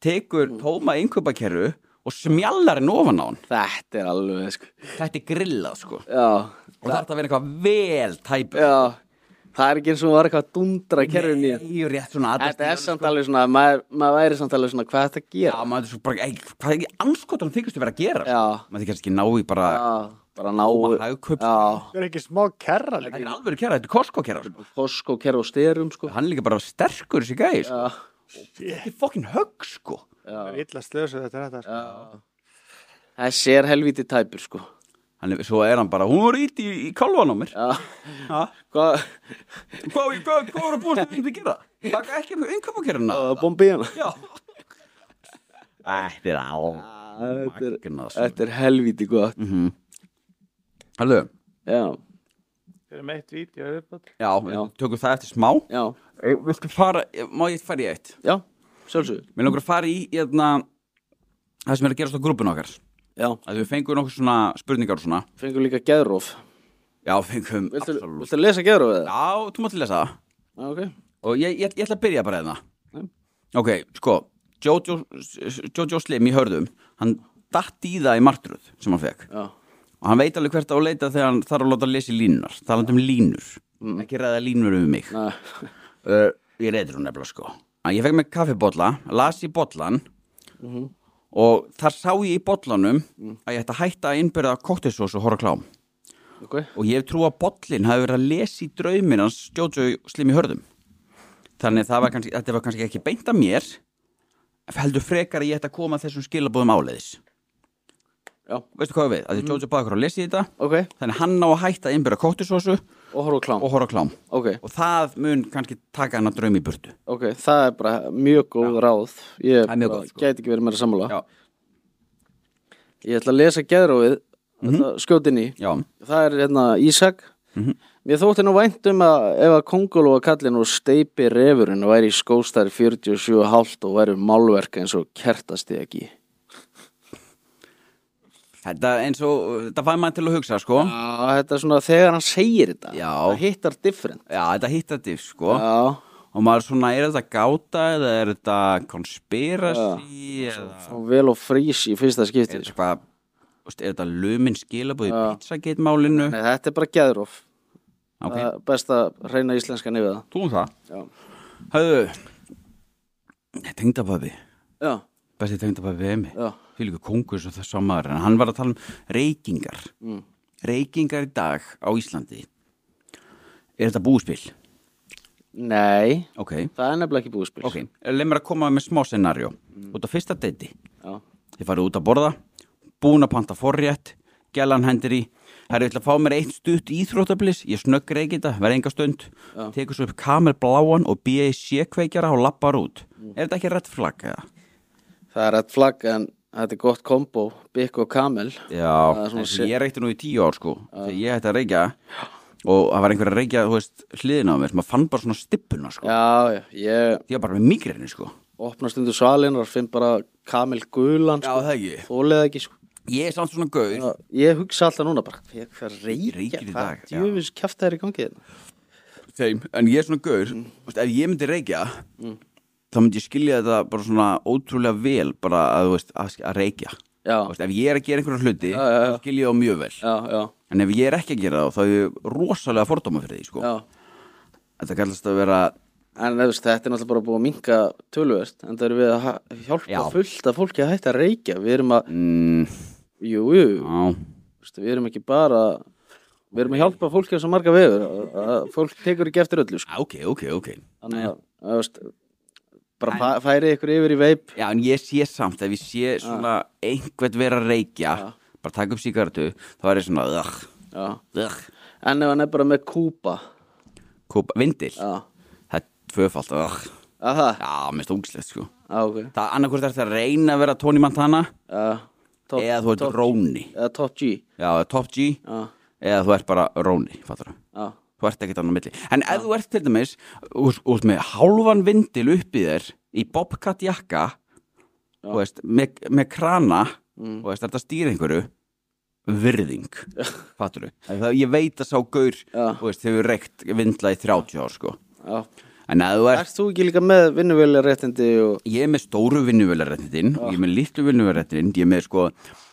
tekur tóma innkaupakerru og smjallar henn ofan á hann þetta er alveg sko. Þetta er grillað sko og já, það þarf að vera eitthvað vel tæp Já, það er ekki eins og hún var eitthvað að dundra kerfin í þetta. Í rétt svona aðeins Þetta er samt alveg svona, maður, maður væri samt alveg svona hvað er þetta að Já, gera. maður er svo bara, ei, hvað er anskotan þykist að vera að gera Já, Maður þykist ekki ná í bara já, bara ná. Ómar Hagkaup. Já, Það er ekki smá kerra líka. Þetta er alveg kæra, þetta er Costco kæra sko. Costco kerfi og styrum, sko. Hann er líka bara sterkur þessi gæði sko. Já, Þetta er fokkin högg sko Það er illa slösuð þetta er þetta. sko. já. Þessi er helviti tæpur, sko. hann er, Svo er hann bara, hún var ít í, í kálvan á mér Já, Ha? hvað, Hvað hva, hva var að búast um að gera? Taka ekki með innkapakerna bombið hana? Já Þetta er á Þetta er, Magnað, sko. þetta er helviti gott. Mhm. Halló, Já, Við erum eitt vídeo viðbútt. já, Já. við tökum það eftir smá já, Eh, Viltu fara, eh, má ég fara í eitt? já, sjálfsögur. Mér langar að fara í, hérna Það sem er að gerast á grúpun okkar Já, Að við fengum nokkuð svona spurningar og svona fengum líka geðróf. Já, fengum, Viltu, absolutt viltu lesa geðróf eða? Já, þú mátt lesa það Já, Ah, ok. og ég, ég, ég ætla að byrja bara hérna Mm. ok, sko Jojo, Jojo Slim í hörðum hann datt í það í martröð sem hann fekk Já, og hann veit alveg hvert á að leita þegar hann þarf að láta að lesa í línunar talandi um línur, Mm. ekki ræða línur um mig næ, Eh, uh, ég reyður hún nefnilega sko að ég fekk með kaffibotla, las í botlan og þar sá ég í bollanum að ég ætti að hætta að innbyrða kóttisós og horra á klám ok og ég trú að bollin hafi verið að lesa í draumin hans stjóðsög slimi hörðum þannig að það var kannski, þetta var kannski ekki beint að mér heldur frekar að ég ætti að koma þessum skilabóðum áleiðis Já. veistu hvað ég við, að því Jojo báði okkur að lesa í þetta Ok, þannig að hann ná að hætta að innbyrða kóttisósu og horfa á klám og horra á klám Ok, og það mun kannski taka hann að draumi í burtu ok, það er bara mjög góð ráð Ég Það er bara mjög gott, sko. gæti ekki verið meira sammála Já. Ég ætla að lesa geðrófið Mhm. mm -hmm. skjótin í já, Það er hérna Ísak Mhm. Mér þótti nú vænt um að ef að kongulóa kallin og steipi refurinn væri í skóstar 47,5 og væri málverk eins og kertasti ekki þetta eins og þetta fæði maður til að hugsa sko já, Já, þetta er svona þegar hann segir þetta Já. Það hittar different þetta hitta þetta sko Já, og maður svona, er þetta gáta eða er þetta konspirasi eða fá vel og frís í fyrsta er skipti þetta sko. eitthvað veist, er þetta lumin skilabúð í pizzagate málinu Nei, þetta er bara geðróf ok, okay. Best að reyna íslenskan yfir það þú um það Já. höfðu tengdababbi, Já, besti tengdababbi við mig já, fyrir ykkur kongur svo þess að maður en hann var að tala um reykingar Mm. reykingar í dag á Íslandi er þetta búspil? nei ok, Það er nefnilega ekki búiðspil ok, leið eh, mér að koma með smá scenarjó út á fyrsta deiti Já, Þið farið út að borða, búin að panta forrétt, gælan hendir í, herri, ég ætla að fá mér eitt stutt íþróttablis, ég snögg reykita, verð enga stund, tekur svo upp kamel bláan og býja í sékveikjara og lappar út. Er þetta ekki rétt flagg eða? það er rétt flagg en þetta er gott kombo Bikk og Kamel Það Já, er svona en sé- ég reykti nú í tíu ár sko, þegar ég hætti að reykja og það var einhver að reykja, þú veist, hliðin á mér, maður fann bara svona stippuna sko. Já, já, ég Því var bara með migrini sko. opnast undir svalinnar, finn bara Kamil Gulan, sko, það ekki. þólega ekki, sko. Ég er samt svona gaur, Já, Ég hugsa alltaf núna bara, hver- hvað Reykir reykja, í dag, hvað já. djöfis kjafta er í gangi hérna?" þetta? þeim, en ég er svona gaur Mm. veist, ef ég myndi reykja þá myndi ég skilja þetta bara svona ótrúlega vel bara að, þú veist, að, að reykja Já, Þú veist, ef ég er að gera einhverja hluti Já, já, já. þá skilja ég þá mjög vel já, já, en ef ég er ekki að gera þá þá er ég rosalega fordóma fyrir því sko. já. þetta kallast að vera En þú veist, þetta er náttúrulega bara búið að minka tölvöst, en það eru við að ha- hjálpa Já. fullt að fólki að hætta að reykja. Við erum að, mm, jú, jú, á, þú veist, við erum ekki bara, við erum að hjálpa fólki á svo marga vefur. að- að Fólk tekur ekki eftir öllu, sko. á, ok, ok, ok Þannig að, þú veist, bara fa- færi ykkur yfir í veip. Já, en ég sé samt, ef ég sé svona einhvern vera að reykja bara taka upp síkartu, þá er ég svona ugh, Já. ugh, En ef hann er bara með kúpa kúpa, vindil Já, það er tvöfalt, ugh að það Já, mér finnst ógislegt sko Já, ok Það annarkvort er þetta að reyna að vera Tony Montana Já, top, eða þú ert top, Róni eða top G Já, eða Top G Já, eða þú ert bara Róni, fattur já, Þú ert ekkert annað milli En ef þú ert til dæmis úr, úr með hálfan vindil uppi þér í bobcat jakka þú veist, með, með krana Mm. og veist, þetta stýra einhverju virðing, fattur Ég veit að sá gaur Já. þú veist, hefur reykt vindla í 30 ár sko já En ef þú ert Erst þú ekki líka með vinnuvelja réttindi og ég er með stóru vinnuvélaréttindin og ég er með litlu vinnuvélaréttindin ég er með sko,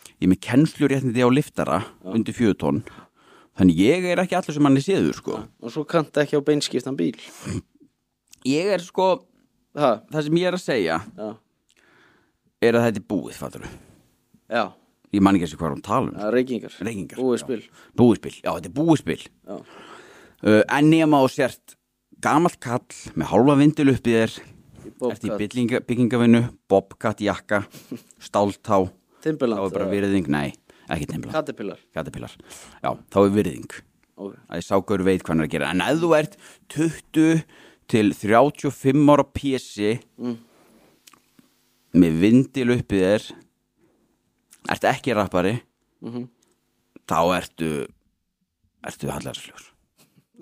ég er með kennsluréttindi á liftara undir fjöðu tónn þannig ég er ekki allur sem hann er séður sko og svo kannta ekki á beinskiptan bíl ég er sko, Það, það sem ég er að segja já, er að þetta er búið, fattur já, ég man ekki eins og hvað er hún tala um já reykingar Reykingar, Búið já. spil búiðspil, já þetta er búiðspil Já, uh, en nema og sért gamall kall með hálfa vindil uppi þér í eftir bókat bygginga, byggingavinu, bobcat jakka stáltá, þá er Timberland bara eða virðing, nei, ekki timbla Caterpillar Caterpillar, já, þá er virðing Ok, að ég sá gaur veit hvað hann er að gera en ef þú ert 20 til 35 ára pési með vindil uppið þér ert ekki rappari mhm, þá ertu ertu hallarsljós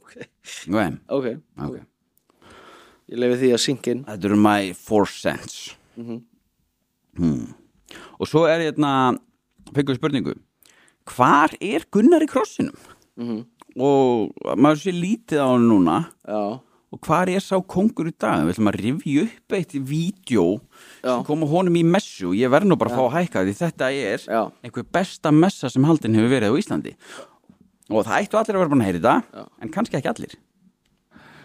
okay. ok, ok ég lefi því að syngja inn þetta eru my four cents Mhm, hmm. og svo er ég hérna fengur spurningu hvar er Gunnar í krossinum mhm. og maður sé lítið á hann núna Já, og hvar er sá kongur í dag við ætlum að rifja upp eitt vídeo Já. sem kom á honum í messu ég verð nú bara að fá að hækka því þetta er Já. einhver besta messa sem haldin hefur verið á Íslandi og það ættu allir að vera búin að heyri þetta en kannski ekki allir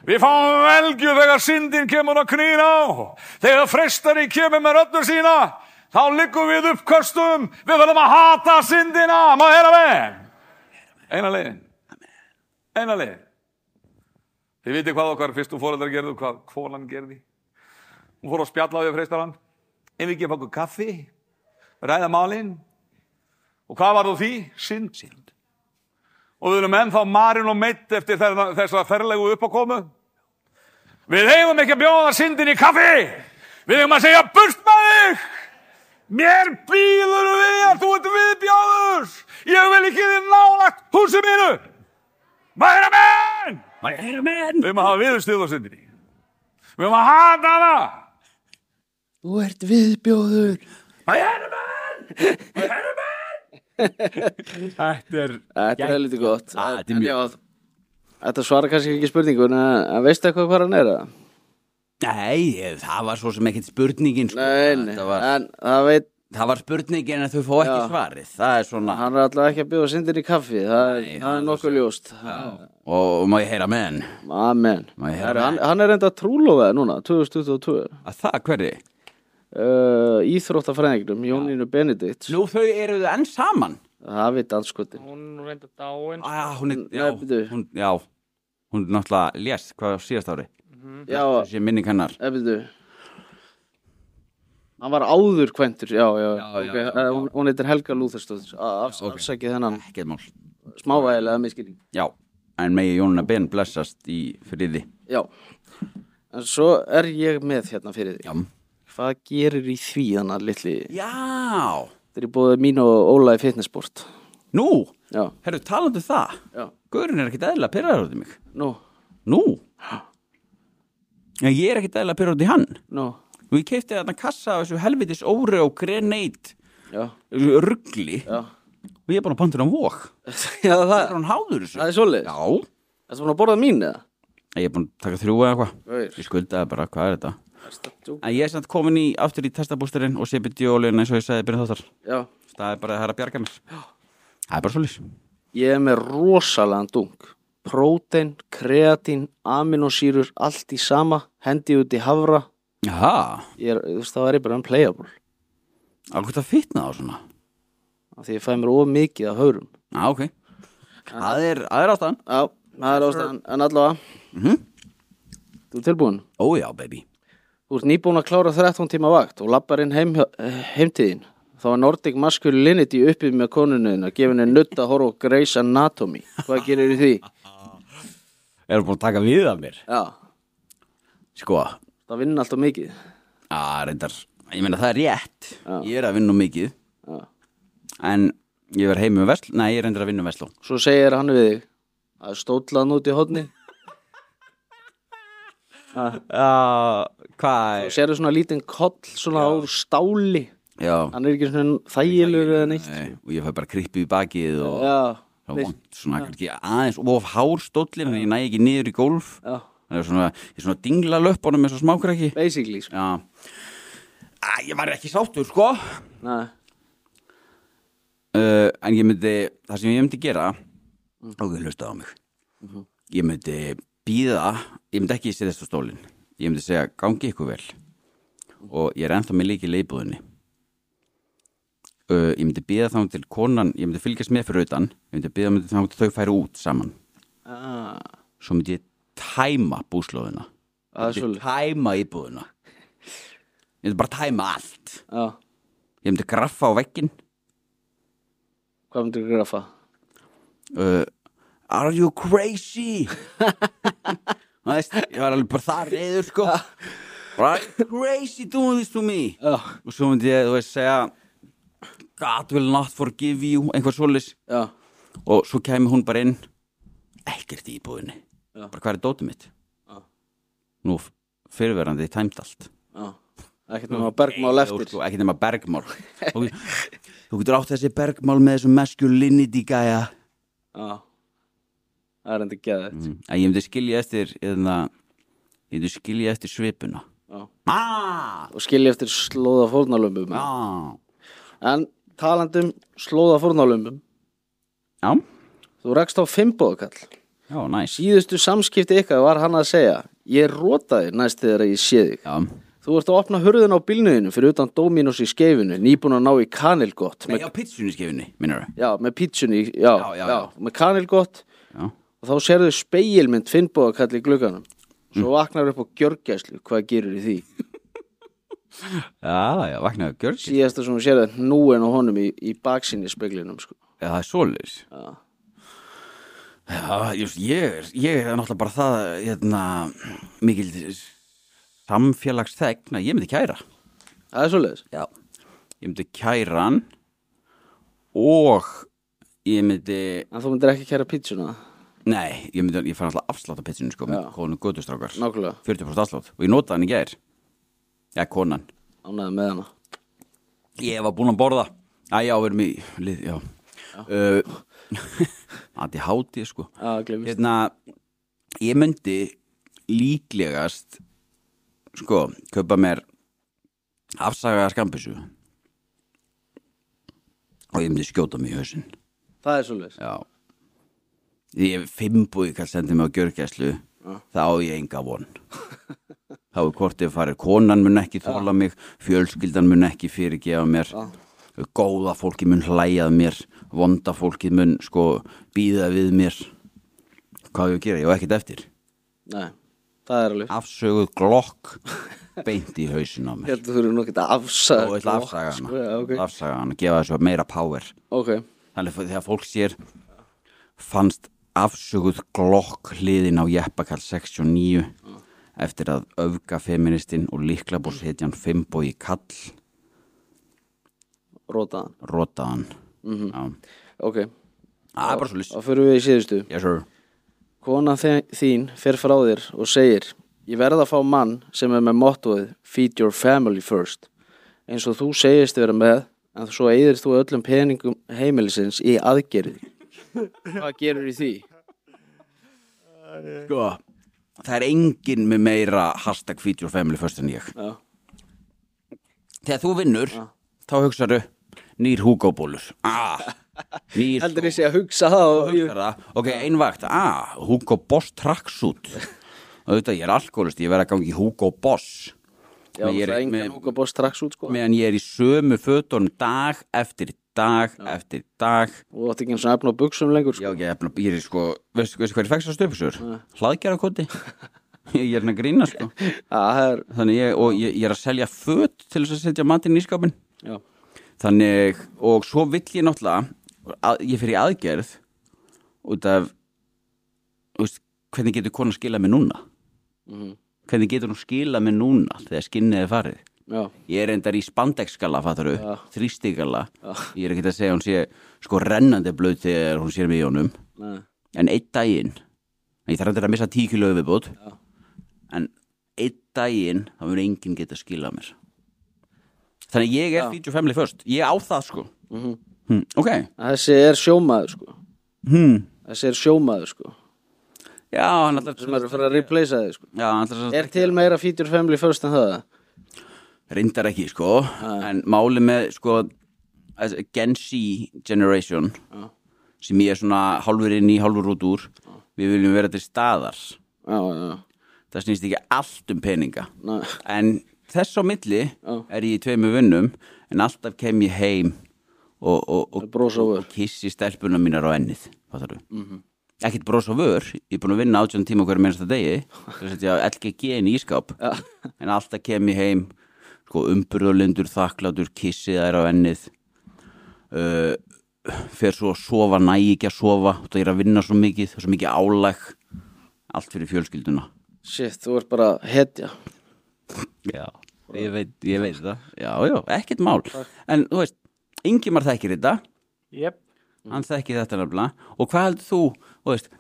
Við fáum velgju þegar syndin kemur að knýna á. Þegar frestari kemur með röddur sína, þá liggum við uppköstum, við verðum að hata syndina, maður heyra með. Eina leiðin. Eina leiðin. Þið vitið hvað okkar fyrstum fóreldar gerðu, hvað kvolan gerði. Hún fór að spjalla við freistarann, ef við gefa okkur kaffi, ræða málinn. Og hvað var þú því? Synd. Synd. Og við erum ennþá marinn og meitt eftir þær- þessa ferlegu uppakomu. Við eigum ekki að bjóða syndin í kaffi. Við eigum að segja burst með þig. Mér býður við að þú ert viðbjóður. Ég vil ekki þið nálagt húsið mínu. Mæra menn! My man. Við eigum að hafa viðurstuð á syndinni. Við eigum að hata hana. Þú ert viðbjóður Mæra menn! Mæra menn! Þetta er Þetta er helviti gott Ah, þetta er En mjög- já, Þetta svarar kannski ekki spurningun en eh, veistu eitthvað hvað hann er að? Nei, ég- það var svo sem ekkert spurningin sko. Nei, nei, Það, var, en það veit það var spurningin að þau fá ekki Já. svarið Það er svona hann er alltaf ekki að bjóða syndin í kaffi það, er- Nei, það hann er er nokkuð ljóst Og má ég heyra með henn Amen Má ég heyra Herru, meira? hann, hann er enda trúlofaði núna 2022 Að það, hverri? uh, Íþróttafræðingnum, Jónínu Benedikt Nú þau eru þau enn saman Það veit anskotin Hún er reynda dáin. ah, hún, er, Nei, já, bíddu. hún, já, hún náttúrulega lést hvað á síðast ári Já, Þessi minning hennar eftir Hann var áður kvæntur, já, já, Já, ok, já, já, eh, Hún, hún heitir Helga Lúþarstóttir Afs, ok. Afsakið þennan Ekkert mál smávægilega miskinning Já, en megi Jónuna Ben blessast í friði Já, en svo er ég með hérna fyrir því Já, Hvað gerir í því hann að litli já. Þetta er búið mín og Óla í fitnessport Nú, Já, herru talandi um það já, Guðurinn er ekkert eðla að pyrraða út í mig nú, Nú Já, ég er ekkert eðla að pyrra út í hann nú, Og ég keipti þarna kassa af þessu helvitis óri og greneit já, ruggli já og ég er bara pántur á vók Já, það, Það er hann háður þessu það er svoleiðis Já, Það er svona að borða mín eða? ég er búin að taka þrjú eða eitthvað Gaur, Ég skuldaði bara, hvað er þetta? ertu að djóka? En ég er samt komin í, aftur í testabústerinn og sepi djólin eins og ég sagði byrja þáttar Já, Það er bara það er að bjarga mér Það er bara svolítið ég er með rosalega dung Prótein, kreatín, aminosýrur, allt í sama Hendi út í hafra Jaha, ég er, Þú veist, þá er ég bara unplayable alveg það fitna þá svona af Því ég fæ mér of mikið af haurum Já, ok Það er, það er ástæðan Já, það er ástæðan, Mhm. en allavega Þú er tilbúin? Ó já, baby Þú ert nýbúin að klára 13 tíma vakt og lappar inn heim, heimtíðin. Þá er Nordic Masculinity uppið með konunuðina, gefin er nutt að horfa á Grey's Anatomy. Hvað gerir því? Erum búin að taka við af mér Já, Sko, það vinna alltaf mikið. að Ah, reyndar Ég meina það er rétt Já. Ég er að vinna of mikið Já. En ég verð heim með vesl Nei, ég er reyndar að vinna um með vesl Svo segir hann við þig að stólaðan út í hodni. Já, hvað Þú sérðu svona lítinn koll svona úr stáli. Já, Hann er ekki svona þægilegur eða neitt. Nei, og ég fæ bara krippu í bakið og Já, Það var veist, vont, svona kannski aðeins of hár stóllin en ég næ ekki niður í gólf já, það er svona, ég er svona dingla löpunum eins og smákrakki basically. Sko. já Æ, ég var ekki sáttur sko uh, Nei, en ég myndi, það sem ég myndi gera ok, hlusta á mig ég myndi býða ég myndi ekki setjast á stólinn ég myndi segja, gangi ykkur vel og ég er ennþá með líkil í búðinni uh, ég myndi býða þá til konan, ég myndi fylgjast með fyrir utan ég myndi býða þá til þau færi út saman Ah, svo myndi ég tæma búslóðina það er Ég myndi svolítið. tæma íbúðina ég myndi bara tæma allt Já, ég myndi graffa á vekkin hvað myndir þú grafa? uh, are you crazy Þú veist, ég var alveg bara það reyður sko Bara, "Are you crazy doing this to me Já, og svo myndi ég þú veist segja God will not forgive you einhver svolis já, og svo kæmi hún bara inn ekkert í íbúðinni Já. bara hvað er dótið mitt Já. nú fyrirverandi tæmt allt já. Ekkert með að bergmál eftir. Sko, ekki nema bergmál þú, þú getur átt þessi bergmál með þessum masculinity gæja Já Það er enda geðið mm. En ég myndi skilja eftir eðna, ég myndi skilja eftir svipuna Já. ah, Og skilja eftir slóða fórnalömbum ah. En um talandum slóða fórnalömbum Já, Þú rakst á fimmbóðkall já, næs Síðustu samskipti ykkar var hann að segja Ég rótaði næst þegar ég sé þig Já, Þú ert að opna hurðin á bílnuðinu fyrir utan Dominos í skeifinu, nýbúin að ná í kanilgott Nei, á pitsunni skefinni, minnur já, með pítsunni, í- já, já, Já, já, já, með kanilgott Já, og þá sérðu speilmynd finnbóða kalli í glugganum svo vaknar upp á gjörgæslu, hvað gerir í því já, já vaknaðu gjörg Já, síðasta sem hún sérðu núin á honum í, í baksinni speglinum sko. það er svoleiðis Já. Já, just, ég, er- ég er náttúrulega bara það hérna, mikil samfélags þegn að ég myndi kæra það er svoleiðis Já Ég myndi kæra hann og ég myndi en þú myndir ekki kæra pítsuna, Nei, ég myndi, ég fann alltaf afslátt á pitsinu sko, Já. með konu gödustrákar nákvæmlega 40% afslátt og ég notaði hann í gær Já, konan ánæði með hana Ég var búin að borða Æ, já, við erum í lið, já, já. Andi háti, sko Já, glemist Hérna, ég myndi líklegast sko, kaupa mér afsagaða skambissu og ég myndi skjóta mig í hausinn Það er svolítið Já Því ef fimmbúi kall sendi mig á gjörgæslu þá á ég enga von þá er hvort ef farið konan mun ekki þóla mig, fjölskyldan mun ekki fyrirgefa mér góða fólki mun hlæjað mér vonda fólki mun sko býða við mér hvað á ég að gera, ég á ekkert eftir Nei, það er alveg afsöguð glokk beint í hausin á mér Hérna þú eru nokkert að afsaga og ég ætla að afsaga sko, já, hana ok. afsaga hana, gefa þessu meira power ok, Þannig að þegar fólk sér fannst afsöguð glokk hliðin á Jeppakall 69 eftir að öfga feministinn og líklabors hetjan Fimbogi Kall rótaðan rotaðan. Mm -hmm. Ok, Það er bara svo list. þá fyrir við í síðustu Yes sir. Kona þe- þín fer frá þér og segir Ég verð að fá mann sem er með mottoið Feed your family first eins og þú segist vera með en svo eigðir þú öllum peningum heimilisins í aðgerði Hvað gerur í því? Sko, það er enginn með meira hashtag feature family first en ég. Já. Þegar þú vinnur, þá hugsaðu nýr húkóbólur. Ah, nýr Heldur ég sé að hugsa það og ég... hugsa það, ok, ein vakt ah, Hugo Boss traksút auðvitað, ég er alkoholist, ég verð að gangi Hugo Boss Já, Ég er- það er engan með- húka bóst strax út sko meðan ég er í sömu fötunum dag eftir dag eftir dag og þú átt ekki eins og efna á buksum lengur já, sko. ég, ég, ég er sko, veistu, veistu hvað ég fækst að stöpusur? hlaðgerðakoti ég er hann að grína sko Já, Ah, það er þannig ég, og ég, ég er að selja föt til þess að setja matinn í skápinn Já, þannig, og svo vill ég náttúrulega að, ég fyrir aðgerð út af þú veist, hvernig getur konan skilað mér núna hvernig getur hún skilað mér núna þegar skinnið er farið já, ég er endar í spandekskala, fattaru Já. þrýstigala, ég er ekki að segja að hún sé sko rennandi blöð þegar hún sér mig í honum nei, en einn daginn ég þarf endur að missa 10 kilo viðbútt Já. en einn daginn þá verður enginn geta að skila mér þannig að ég er feature family first ég á það sko Mhm. hm, ok, þessi er sjómaður sko hm. Þessi er sjómaður sko já, hann ætlar sem eru fyrir að replacea þig sko já, hann ætlar Er til meira feature family first en það? reyndar ekki sko en máli með sko þessi Gen Z generation sem ég er svona hálfur inn í hálfur út úr við viljum vera til staðar Já, já, já, það snýst ekki allt um peninga Nei. en þess á milli er ég í tveimur vinnum en alltaf kem ég heim og, og, og, bros á og, vör. Mhm. og kissi stelpuna mínar á ennið mm -hmm. ekkert bros á vör ég er búin að vinna átján tíma á hverju mennsta degi þess að ég á LGG inn í ískáp en alltaf kem ég heim sko, umburðalindur, þakklátur, kissið þær á ennið uh, fer svo að sofa, næ ekki að sofa og það er að vinna svo mikið, það er svo mikið álæg allt fyrir fjölskylduna Shit, þú ert bara hetja Já, ég veit, ég veit það Já, já, ekkert mál En þú veist, Ingimar þekkir þetta Jep, Hann þekkir þetta nefnilega Og hvað heldur þú, þú veist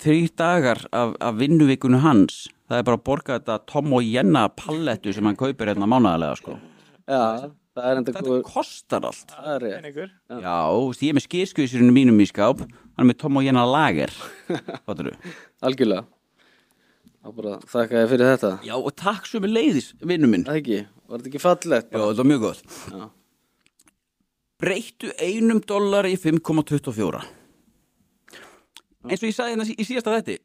Þrýr dagar af, af vinnuvikunu hans Það er bara að borga þetta Tom og Jenna pallettu sem hann kaupir hérna mánaðarlega sko. Já, það er enda Þetta góð kostar allt Það er rétt peningur Já, þú veist, ég er með skýrskvísirinu mínum í skáp Hann er með Tom og Jenna lager Fattarðu? Algjörlega Það bara þakka ég fyrir þetta Já, og takk svo með leiðis, vinnu minn Það ekki, var þetta ekki fallegt? Já, þetta var mjög gott Já. Breyttu einum dólar í 5,24 Eins og ég sagði hérna í síðasta þetti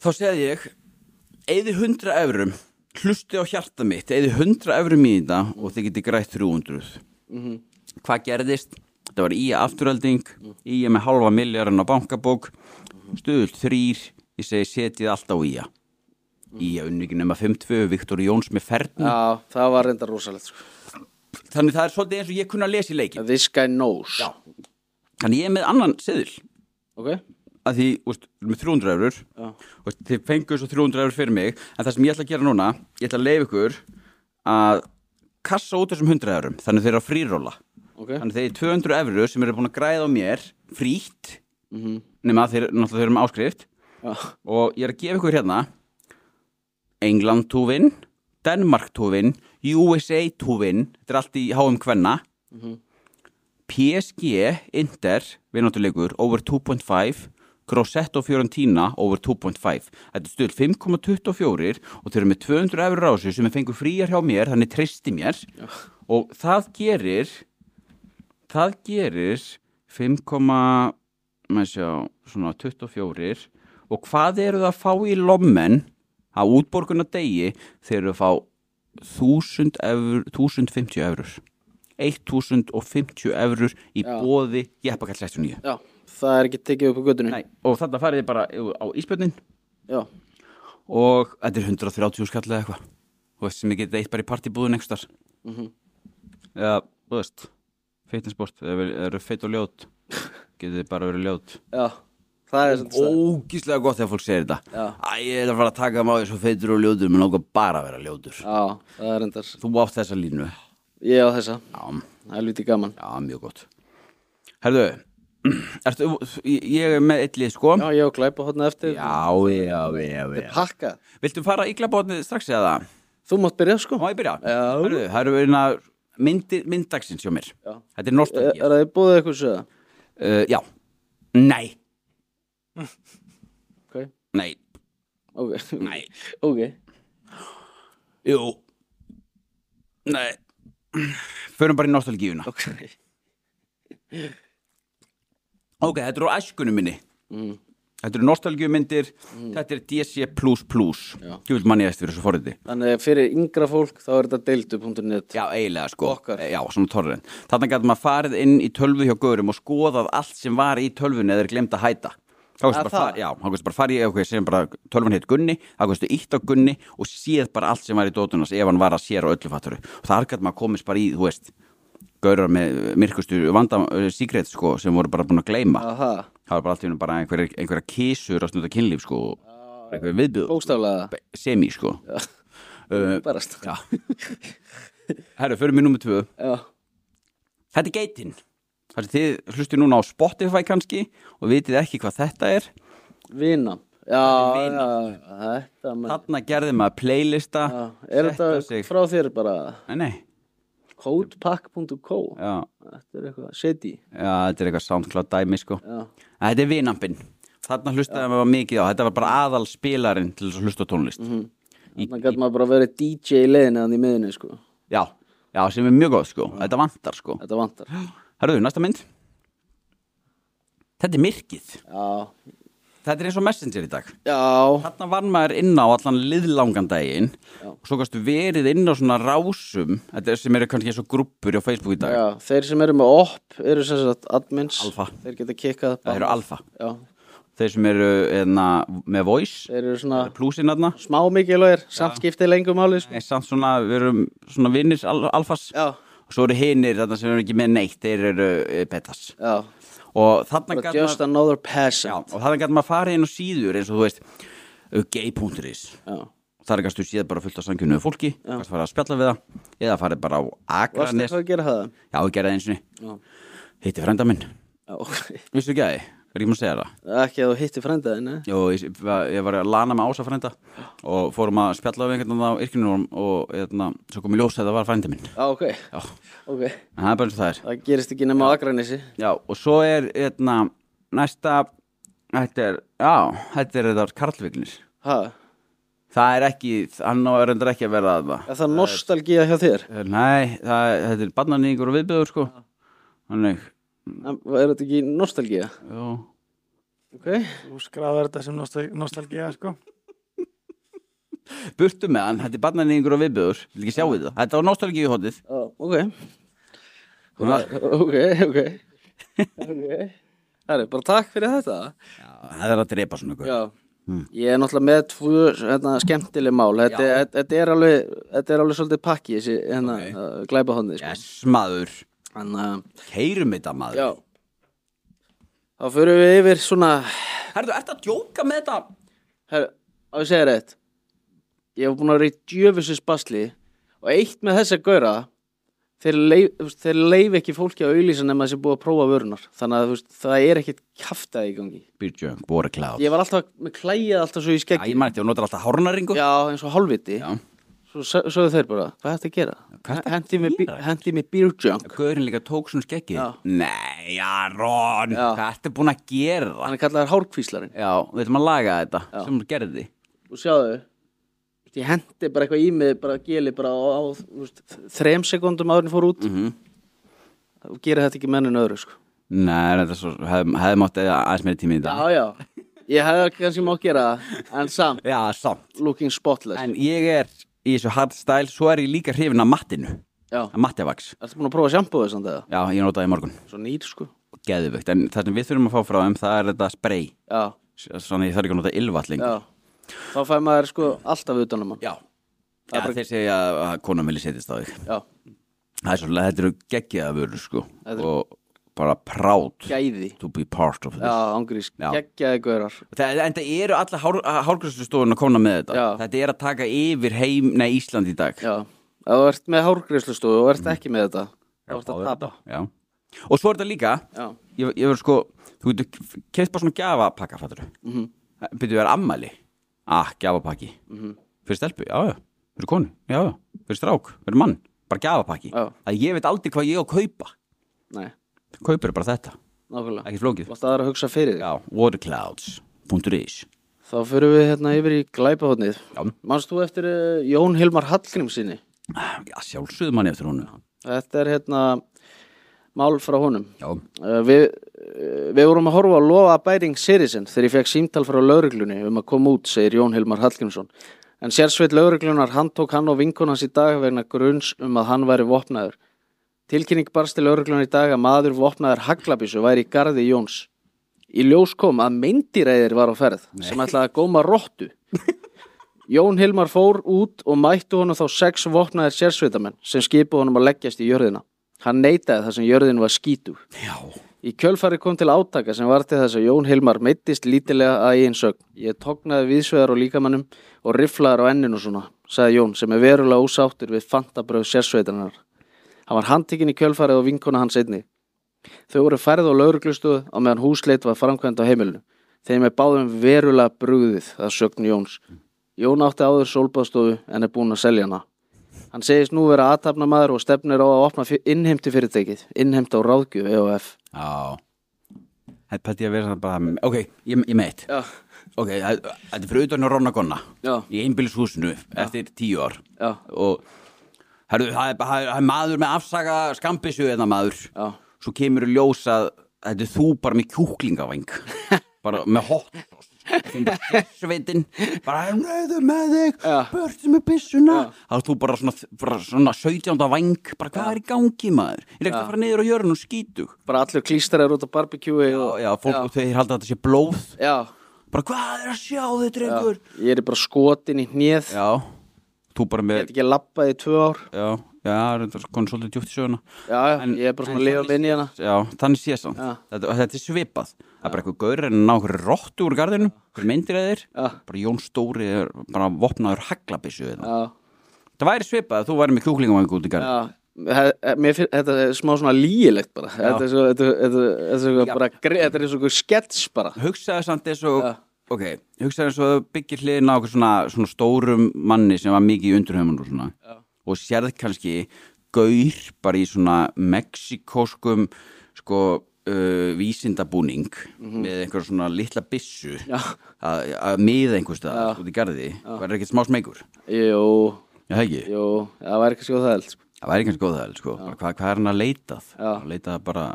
Þá segði ég Eði 100 eurum hlusti á hjarta mitt eða 100 efri mínúta og þið getið grætt 300 hvað gerðist? þetta var í afturölding í með halva milljarinn á bankabók stuðult þrýr ég segi setið allt á í að í að unningin nema 5-2 Viktor Jóns með ferðin Já, það var reyndar rosalegt sko. þannig það er svolítið eins og ég kunna að lesa í leikin This guy knows Já. þannig ég er með annan seðil Ok, að því, úst, með 300 eurur Já. úst, þið fengur svo 300 eurur fyrir mig en það sem ég ætla að gera núna ég ætla að leifa ykkur að kassa út þessum 100 eurum þannig þeir eru að fríróla ok þannig þeir eru 200 eurur sem eru búin að græða á mér frítt Mhm. nema að þeir, náttúrulega þeir eru með áskrift Já. og ég er að gefa ykkur hérna England túvin Danmark túvin USA túvin þetta er allt í HM Kvenna PSG Inter vinnáttúrleikur over 2.5 Grossetto Fiorentina over 2.5 Þetta er stöðl 5.24 og þeir eru með 200 efur rásu sem er fengur fríjar hjá mér, þannig treysti mér og það gerir það gerir 5, maður sjá svona 24 og hvað eru það að fá í lommen að útborguna degi þeir eru að fá 1000 efur, 1050 eurur 1050 eurur í Já. bóði Jeppakall 69 Já, það er ekki tekið upp á göttunni Nei, og þarna farið þið bara á íspjörnin Já, og þetta er 130 skall eða eitthvað Þú veist, sem ég getið eitt bara í partibúðin einhverstar mm Mhm. -hmm. eða, þú veist feitinsport, eða vel- eru feit og ljót getið þið bara verið ljót já, það er svolítið það ógíslega gott þegar fólk segir þetta Já. Æ, ég er að fara að taka maður svo feitur og ljótur menn ákvað bara að vera ljótur Já, það er reyndar þú átt þessa línu já, Ég á þessa, já, það er lítið gaman mjög gott herðu ertu, ég er með eitt lið sko Já, ég á glæpa hóðna eftir já, já, já, já. Pakka, viltu fara í glabotni strax eða þú mátt byrja sko má ég byrja? Já. herðu, það eru verið að myndir, mynddagsins hjá mér Já. þetta er Er nostalgía er það í búið eitthvað sögða? uh, já, nei, Ok, nei, ok, nei ok jú nei förum bara í nostalgíuna Ok, Ok, þetta eru á æskunum minni Mm. Þetta eru nostalgjumyndir Þetta er DC++ Þú vil manni eftir fyrir þessu forriti þannig að fyrir yngra fólk þá er þetta deildu.net Já, eiginlega sko Okkar. Já, svona torrent Þannig gæti maður farið inn í tölvu hjá Gaurum og skoðað allt sem var í tölvunni eða er glemt að hæta Þá Að kannski bara, það? fara- já, þá kannski bara farið í eitthvað sem bara tölvun heit Gunni, þá kannski ítt á Gunni og séð bara allt sem var í dótunars ef hann var að sér á öllu fatturu og þar gæti maður komist bara í, þú veist Gaurar með myrkustu vanda secret sko sem voru bara búin að gleyma Aha, það var bara allt í hennu bara einhverja, einhverja kísur að snúta kynlíf sko og einhverja viðbjöð bókstaflega semi sko uh, Barast já herru, förum við nummið tvö Já, þetta er geitin þar sem þið hlustu núna á Spotify kannski og vitið ekki hvað þetta er vinam Já, já, þetta menn þarna gerði maður playlista Já, er setta þetta sig- frá þér bara nei, nei, codepack.co já, Þetta er eitthvað shady já, þetta er eitthvað soundcloud dæmi sko Já, þetta er vinampinn þarna hlustaði maður mikið á, þetta var bara aðal spilarinn til þess að hlusta á tónlist þannig gæti maður bara verið DJ í leiðinni þannig í miðinni sko já, já, sem er mjög góð sko þetta vantar sko Þetta vantar Herðu, næsta mynd Þetta er myrkið Já, Þetta er eins og messenger í dag já, Þarna vann maður inn á allan liðlangan daginn Já. og svo kannstu verið inn á svona rásum þetta er sem eru kannski eins og grúppur á Facebook í dag já Þeir sem eru með OP eru sem sagt admins Alfa. Þeir geta kikkað Það eru alfa Já, Þeir sem eru eðna, með voice þeir eru svona plusinn þarna smá mikilvægir samt skiptið lengum áli sko Nei, samt svona, við erum svona vinnir al alfas Já, og svo eru hinir þarna sem eru ekki með neitt þeir eru eh, betas já og þarna Bara gat maður- just another Já, peasant og þarna gæti maður að fara inn á síður eins og þú veist uh, gay.is Já. þar kannstu séð bara fullt af samkynnuðu fólki kannstu fara að spjalla við það eða farið bara á Varstu Akranes eitthvað að gera það? já, ég gerði það eins Já. og hitti frænda minn Já, ok. vissu ekki að þið, er ekki maður að segja það Ekki að þú hitti frændaðin, ne? Jó, ég, ég var að lana með Ása frænda og fórum að spjalla við einhvern veginn á yrkjunum og eðna, svo kom í ljós að það var frænda minn Já, ok, já, ok. en það er bara eins og það er Það gerist ekki nema á Akranesi. Já, og svo er eðna, næsta þetta er, já, þetta er þetta Karlvignir Ha, Það er ekki, hann á reyndar ekki að vera að það. er það nostalgía hjá þér? Nei, það, þetta er barnanýgur og viðbjöður sko. Þannig, En Er þetta ekki nostalgía? já. Ok. Þú skráðar þetta sem nostal nostalgía, sko. burtu með hann, þetta er barnan í einhverja viðbjöður vil ekki sjá við það, þetta var nostalgíu hóttið Já, ok Ok, ok Ok Það er bara takk fyrir þetta það er að drepa svona eitthvað Já Ég er náttúrulega með tvö hérna, skemmtileg mál þetta, þetta, þetta, er alveg, þetta er alveg svolítið pakki þessi hérna, Ok. okay. uh, glæpa honni sko. yes, maður, Þannig að, keirum þetta maður já Þá förum við yfir svona herðu, ertu að djóka með þetta Herru, á ég segja rétt Ég hef búin að vera í djöfisins basli og eitt með þess að gauðra þeir, leif, þú veist, þeir leif ekki fólki að auðlýsa nema þessi búið að prófa vörunar þannig að þú veist, það er ekkit kjaftaði í gangi Byrju, bóra kláð Ég var alltaf með klæjað alltaf svo í Æ, skeggi ég mætti, hún notar alltaf hárnaringu Já, eins og hálfviti Já. Svo sögðu þeir bara, hvað er þetta að gera? Hendi mig, gera? hendi mig beer junk Gaurin líka tók svona skekkið Já. Nei, Aron, Já. hvað ertu búin að gera? Hann er kallaður hárkvíslarinn Já, við ætlum að laga þetta sem þú gerði Og sjáðu, ég hendi bara eitthvað í mig bara geli bara á, á þú veist, þrem sekundum árin fór út mm -hmm. og gera þetta ekki mennin öðru sko Nei, þetta er svo, hefði hef mátt eða aðeins meiri tími í þetta Já, já, ég hefði kannski má gera það En samt, Já, samt looking spotless En ég er í þessu hardstyle, svo er ég líka hrifin af mattinu Já, Af mattevaks ertu búin að prófa sjambóðu samt eða? Já, ég notaði í morgun Svo nýr sko Geðvögt, en það sem við þurfum að fá frá þeim, það er þetta spray Já, Svona ég þarf ekki að nota ylvatling já Þá fæ maður sko alltaf utanum hann Já, Já bara- þeir segja að konan vilja setjast á þig Já, Það er svolítið, þetta eru geggjaða vörur sko Þetta eru- og bara proud gæði to be part of this Já, ángrís, Já. geggjaði gaurar það, En það eru alla hár, hárgræslustofunum að komna með þetta Já. Þetta er að taka yfir heim, nei Ísland í dag Já, ef þú ert með hárgríslustofu og ert ekki með þetta þá ert að þá er tapa Já. Og svo er þetta líka Já, ég, ég verður sko, þú getur keitt bara svona gjafapakka, fattur mm Mhm. -hmm. Byrðu vera ammæli, ah, gjafapakki Mhm. -hmm. Fyrir stelpu, já, já Fyrir konu, já, já, fyrir strák, fyrir mann Bara gjafapakki, Já. að ég veit aldrei hvað ég á að kaupa nei, Kaupir bara þetta, nákvæmlega ekki flókið Þú ert aðra að hugsa fyrir þig Já, waterclouds.is Þá fyrir við hérna yfir í glæpahotnið Já. Manst þú eftir eh, Jón Hilmar Hallgrímsinni? Já, sjálfsögðu manni eftir honu Þetta er hérna mál frá honum Já, Uh, við, uh, við vorum að horfa á lofa abiding seriesin þegar ég fekk símtal frá lauruglunni um að koma út, segir Jón Hilmar Hallgrímsson en sérsveit lauruglunar handtók hann og vinkun hans í dag vegna gruns um að hann væri vopnaður tilkynning barst til lauruglunar í dag að maður vopnaður haglabísu væri í garði Jóns í ljós kom að meindýræðir var á ferð sem ætlaði að góma rottu Jón Hilmar fór út og mættu honum þá sex vopnaðir sérsveitamenn sem skipu honum að leggjast í jörðina hann neitaði þar sem jörðin var skítug Í kjölfari kom til átaka sem var til þess að Jón Hilmar meittist lítilega að einn sögn. Ég tognaði viðsvegar og líkamannum og rifflaðar á enninu svona, sagði Jón sem er verulega ósáttur við fantabröð sérsveitarinnar. Hann var handtekinn í kjölfarið og vinkona hans einni. Þau voru færð á lauruglustuð á meðan húsleit var framkvæmt á heimilinu. Þeim er báðum verulega brugðið að sögn Jóns. Jón átti áður sólbaðstofu en er búinn að selja hana. Hann segist nú vera aðtapnamaður og stefnir á að opna innheimti fyrirtækið, innheimta á ráðgjöf E EOF. já Þetta pætti ég að vera það bara Ok, ég, ég meitt Já, Ok, það- þetta er fyrir utan á Ronna Gonna Já. Í einbýlishúsinu eftir tíu ár já, Og herru, það er, það er, það er maður með afsaka skambissu eða maður já, Svo kemur í ljós að Þetta er þú bara með kjúklingavang Bara með hot Sveitin Bara "Ég er nöðu með þig Já. Börtu með byssuna Þá er þú bara svona, bara svona 17. vang Bara hvað er í gangi maður Ég er ekki að fara niður á jörn og skítug bara allur klístrar út á barbekjúi já, og, já, fólk já. þeir halda að þetta sé blóð já, bara hvað er að sjá þau já, drengur ég er bara skotin í hnið, já, þú bara með get ekki labbað í tvö ár, já, já, þetta er konum svolítið djúpt í söguna já, já, En- ég er bara en svona að lifa þannig- minni hana, já, þannig sé samt Já. þetta, þetta er svipað það er bara eitthvað gaur en að ná okkur rottu úr garðinu okkur myndir að þeir Já. bara Jón Stóri er bara vopnaður haglabissu eða. já, það væri svipað að þú væri með kjúklingamangu út í garðinu já, He- he- mér finn, þetta er smá svona lígilegt bara, þetta er svo, þetta er- þetta er- þetta er svo bara, gre- þetta er svo einhver skets bara, hugsaðu samt eins og Já. ok, hugsaðu eins og þú byggir hliðin á okkur svona, svona stórum manni sem var mikið í undurheimun og svona og sérð kannski gaur bara í svona mexikóskum sko uh, vísindabúning Mhm. með einhver svona litla byssu að að miða einhvers stað út í garði, það er ekkert smá smegur jú, Já, það ekki, jú, það væri kannski á það held, sko. það væri kannski góð það sko. Bara hvað, hvað er hann að leitað? Já. Hann leitað bara,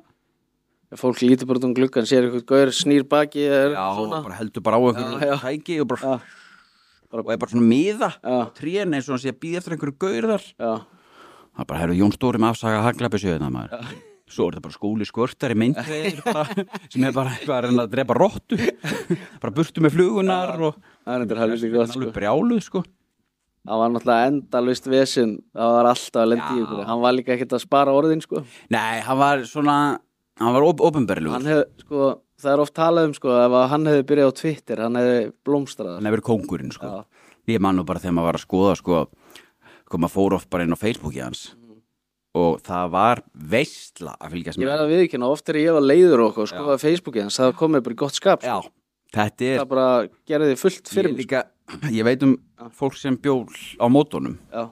Ef fólk lítur bara út um gluggan, sér eitthvað gaur, snýr baki, er já, svona, bara heldur bara á einhver tæki og bara og er bara svona miða Já. trén eins og hann sé að býða eftir einhverju gaurðar já, það það er bara, herru, Jón Stóri með afsaga haglabi sjöðina maður svo er þetta bara skóli skvörtar í myndveir sem er bara eitthvað að reyna að drepa rottu bara burtu með flugunar og er endur helviti gott sko. alveg brjáluð sko það var náttúrulega endalvist vesinn það var alltaf að lendi í Já. ykkur hann var líka ekkert að spara orðin sko. nei, hann var svona hann var op hann openberlugur, hef, sko, það er oft talað um sko, ef að hann hefði byrjað á Twitter hann hefði blómstrað hann hefur kóngurinn sko ég man nú bara þegar maður var að skoða sko, sko maður fór oft bara inn á Facebooki hans og það var veistla að fylgjast Mm. Ég með verða að viðkynna, oft er ég að leiður okkur sko að Facebooki hans, það komið bara í gott skap sko. já, þetta er það bara gerði fullt fyrir ég, mig líka, ég veit um fólk sem bjól á mótunum sko.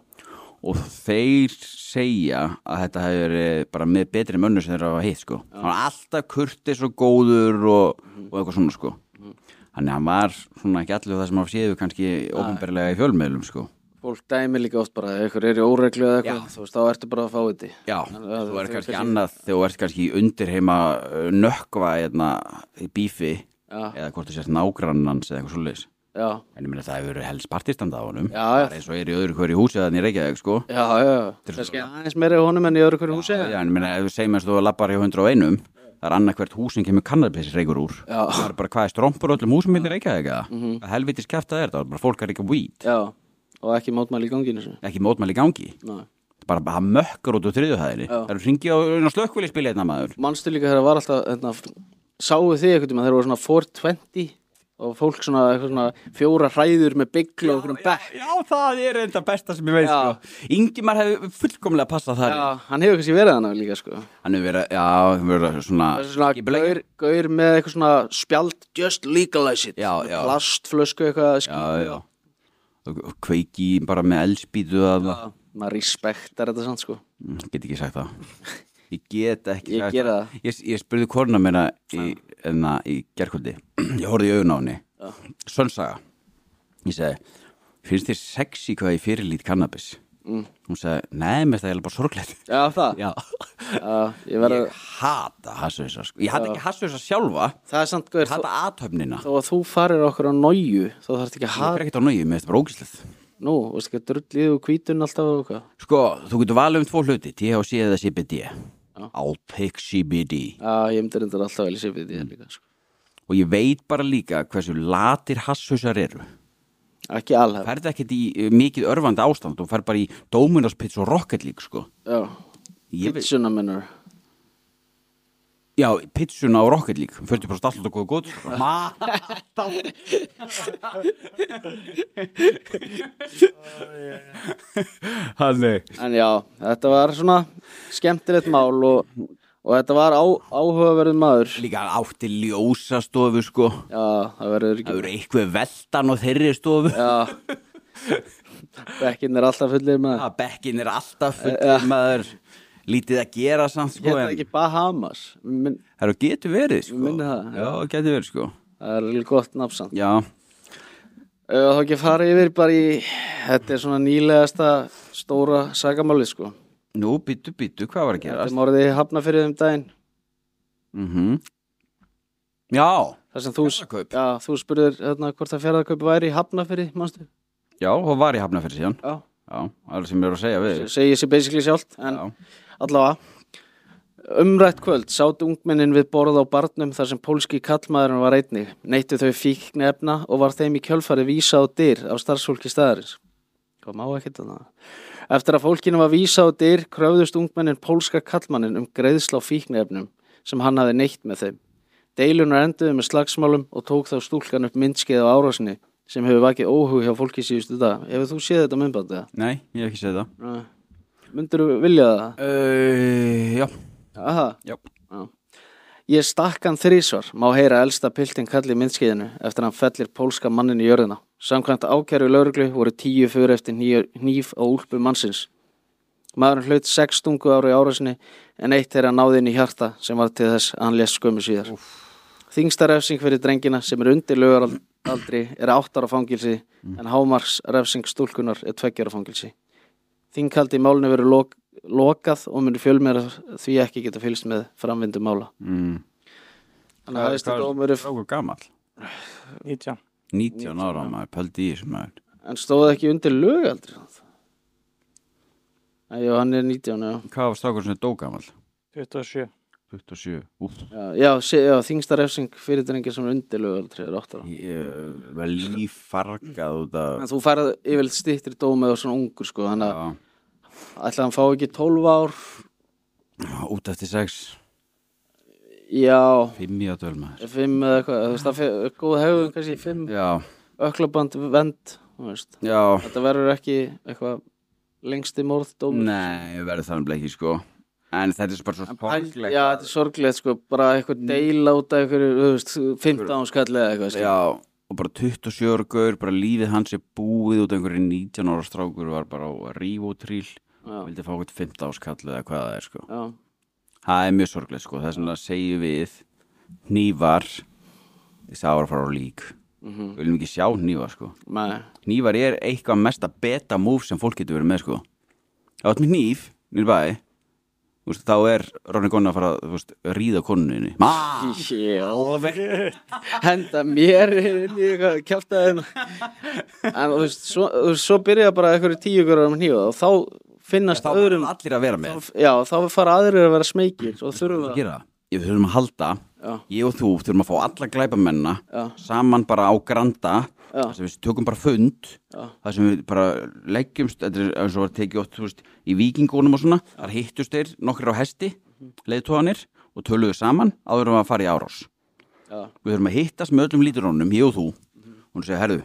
og þeir segja að þetta hefur verið bara með betri mönnu sem þeir hafa hitt sko hann var alltaf kurtis og góður og, Mhm. og eitthvað svona sko þannig að hann var svona ekki allir það sem hann séðu kannski ofanberlega í fjölmiðlum sko fólk dæmi líka oft bara, ef ykkur er í óreglu eða eitthvað, þú veist, þá ertu bara að fá þetta Já, það- þú ert þau kannski kannski- annað þegar þú ert kannski undir heima nökkva eðna, í bífi Já. eða hvort þú sért nágrannans eða eitthvað svoleiðis já, en ég meina það hefur verið helst partistanda á honum Já, já. bara eins og er í öðru hverju húsi þannig reykjaði sko já, já, já. kannski aðeins meira í honum en í öðru hverju húsi Já, en ég meina ef þú segir mér að þú lappar hjá 101 það er annað hvert hús sem kemur kannabis reykur úr Já. Mhm. það er bara hvað er strómpur öllum húsum minni reykjaði ekki það mm -hmm. helvitis kæft það er það, bara fólk er ekki weed já, og ekki mátmæli í ganginu sinni. ekki mótmæli í gangi, Nei. bara það mökkar út úr þriðuhæðinni, Já. það eru hringi á, á slökkviliðspilið hérna maður manstu líka þegar það var alltaf hérna, sáu þið einhvern tíma, þegar voru svona 420 og fólk svona, eitthvað svona fjóra hræður með bygglu og okkur bekk Já, það er enda besta sem ég veit Já. sko. Ingimar hefði fullkomlega passað það já, hann hefur kannski verið hann líka sko Hann hefur verið, já, hann hefur verið svona Það er svona gaur, gaur með eitthvað svona spjald Just legalize it Já, já. Plastflösku eitthvað ský- Já, já Og- og Kveiki bara með eldspýtu að Maður respektar þetta sann sko Ég get ekki sagt það Ég get ekki Ég sagt gera það Ég, ég spurði korna meina í, enna, í gerkvöldi Ég horfði í augun á henni Sönsaga Ég segi, finnst þér sexy hvað ég fyrirlít kannabis? Mm. Hún segi, nei, mér finnst það er bara sorglegt Já, það Já já, ég verð, Ég hata hassauðsar sko. Ég hata ekki hassauðsar sjálfa Það er sann gaur Ég hata aðtöfnina Þó þó að þú farir okkur á nóju Þá þarf ekki að Það hafa er ekkert á nögið, mér finnst það bara ógislið Nú, veistu ekki að drullið og hvítun alltaf og hvað Sko, þú getur valið um tvo hluti THC eða CBD I'll pick CBD Já, ég myndi reyndar alltaf vel í sifið því líka sko Og ég veit bara líka hversu latir hasshausar eru Ekki alhaf Ferð ekkert í eh, mikið örfandi ástand og ferð bara í Dominos Pizza og Rocket League sko. Já Ég veit- Pitsuna minnur Já, pizzuna og Rocket League 40% alltaf góð góð sko. Þannig En já, þetta var svona skemmtilegt mál og, og þetta var á, áhugaverð maður Líka hann átti ljósastofu sko Já, það verður Það ekki eru eitthvað veltan á þeirri stofu Já Bekkinn er alltaf fullir með að Eh, bekkin er alltaf fullur maður lítið að gera samt sko Hér er en ekki Bahamas Minn, það eru getur verið sko Minni það, já, getur verið sko Það er alveg gott nafnsand já, Ef þá ekki fara yfir bara í Þetta er svona nýlegasta stóra sagamáli sko nú býtu býtu hvað var að Þetta gera er morðið hafna fyrir um daginn mm já, Það sem þú, Fjarðarkaup. já, þú spurðir hérna, hvort það fjaraðakaup væri í hafna fyrir, manstu? já, hún var í hafna fyrir síðan Já, já, alveg sem ég er að segja við þig. segir sér basically sjálft en já, Allavega Umrætt kvöld sátt ungmennin við borð á barnum þar sem pólski kallmaðurinn var einnig. Neittu þau fíknefna og var þeim í kjölfari vísað á dyr af starfsfólki staðarins. Hvað má ekkert að það? Eftir að fólkinu var vísað á dyr kröfðust ungmennin pólska kallmannin um greiðsla á fíknefnum sem hann hafði neitt með þeim. Deilunar enduðu með slagsmálum og tók þá stúlkan upp myndskeið á árásinni sem hefur vakið óhug hjá fólki síðustu dag. Hefur þú séð þetta myndbandið? nei, ég hef ekki segið það Myndur þú vilja það? uh, já, Aha. já Ég stakk hann þrísvar, má heyra elsta piltin kalli í myndskeiðinu eftir að hann fellir pólska mannin í jörðina. Samkvæmt ákæru lauruglu voru tíu fyrir eftir nýf á úlpu mannsins. Maðurinn hlaut sex stungu ára í árasinni en eitt þeirra náði inn í hjarta sem var til þess að hann lés skömmu síðar. Þingstarefsing fyrir drengina sem er undir löguraldri er áttara fangilsi en hámarsrefsing stúlkunar er tveggjara fangilsi. Þingkaldi í málinu verður lok, lokað og munir fjölmeira því ekki geta fylgst með framvindu mála. mm. Þannig að hægstu Hvað- dómur er strákur gamall 19 19 ára maður, pöldi í þessum maður En stóð ekki undir lög aldrei samt? Æ, jú, hann er 19, já. Hvað var strákur sem dó gamal? 27 27 Úf, Já, já, sé- já þingsta refsing fyrir drengi sem er undir lög aldrei er 8 ára. ég eh, var lífargað út En af þú færð yfirleitt stýttir dómið og svona ungur, sko, þannig að Já, ætla hann fá ekki 12 ár, út eftir 6 já, 5 í að tölma 5 eða eitthvað, þú veist, það er góð hegðun kannski 5, Já, öklaband, vend, þú veist. já Þetta verður ekki eitthvað lengsti morðdómur. Nei, við verðum þannig blei ekki sko En þetta er bara svo Pæl- sorglegt Mm. Já, þetta er sorglegt sko, bara eitthvað deila út af einhverju, þú veist, 15 skall eða eitthvað sko. Já, og bara 27 ára gaur bara lífið hans er búið út af einhverju 19 ára strákur var bara á rífótríl Já. vildi fá eitthvað 15 áskall eða hvað það er sko Já, Það er mjög sorglegt sko, það er svona að segja við hnívar þess að ára fara á lík mhm, Við viljum ekki sjá hnívar sko nei, Hnívar er eitthvað mesta beta move sem fólk getur verið með sko Ef þú ert með hníf, nýr bæ Úst, þá er Ronny Gonna að fara að þú veist, ríða konunni Má! já, henda mér inn í eitthvað kjáltaðin en þú veist, svo, þú veist, svo byrja bara einhverju tíu hverjum hnífa og þá finnast þá öðrum, verður allir að vera með já, þá fara aðrir að vera smeykir og þurfum að, gera það. Ég þurfum að halda, Já. ég og þú þurfum að fá alla glæpamennina Já. saman bara á granda Já. þar sem við tökum bara fund Já. þar sem við bara leggjumst þetta er eins og var tekið oft þú veist, í vikingunum og svona, þar hittust þeir nokkrir á hesti, Mhm. leiðtóðanir og töluðu saman áður um að fara í árás Já. Mhm. við þurfum að hittast með öllum líturónum, ég og þú og hún segir, herðu,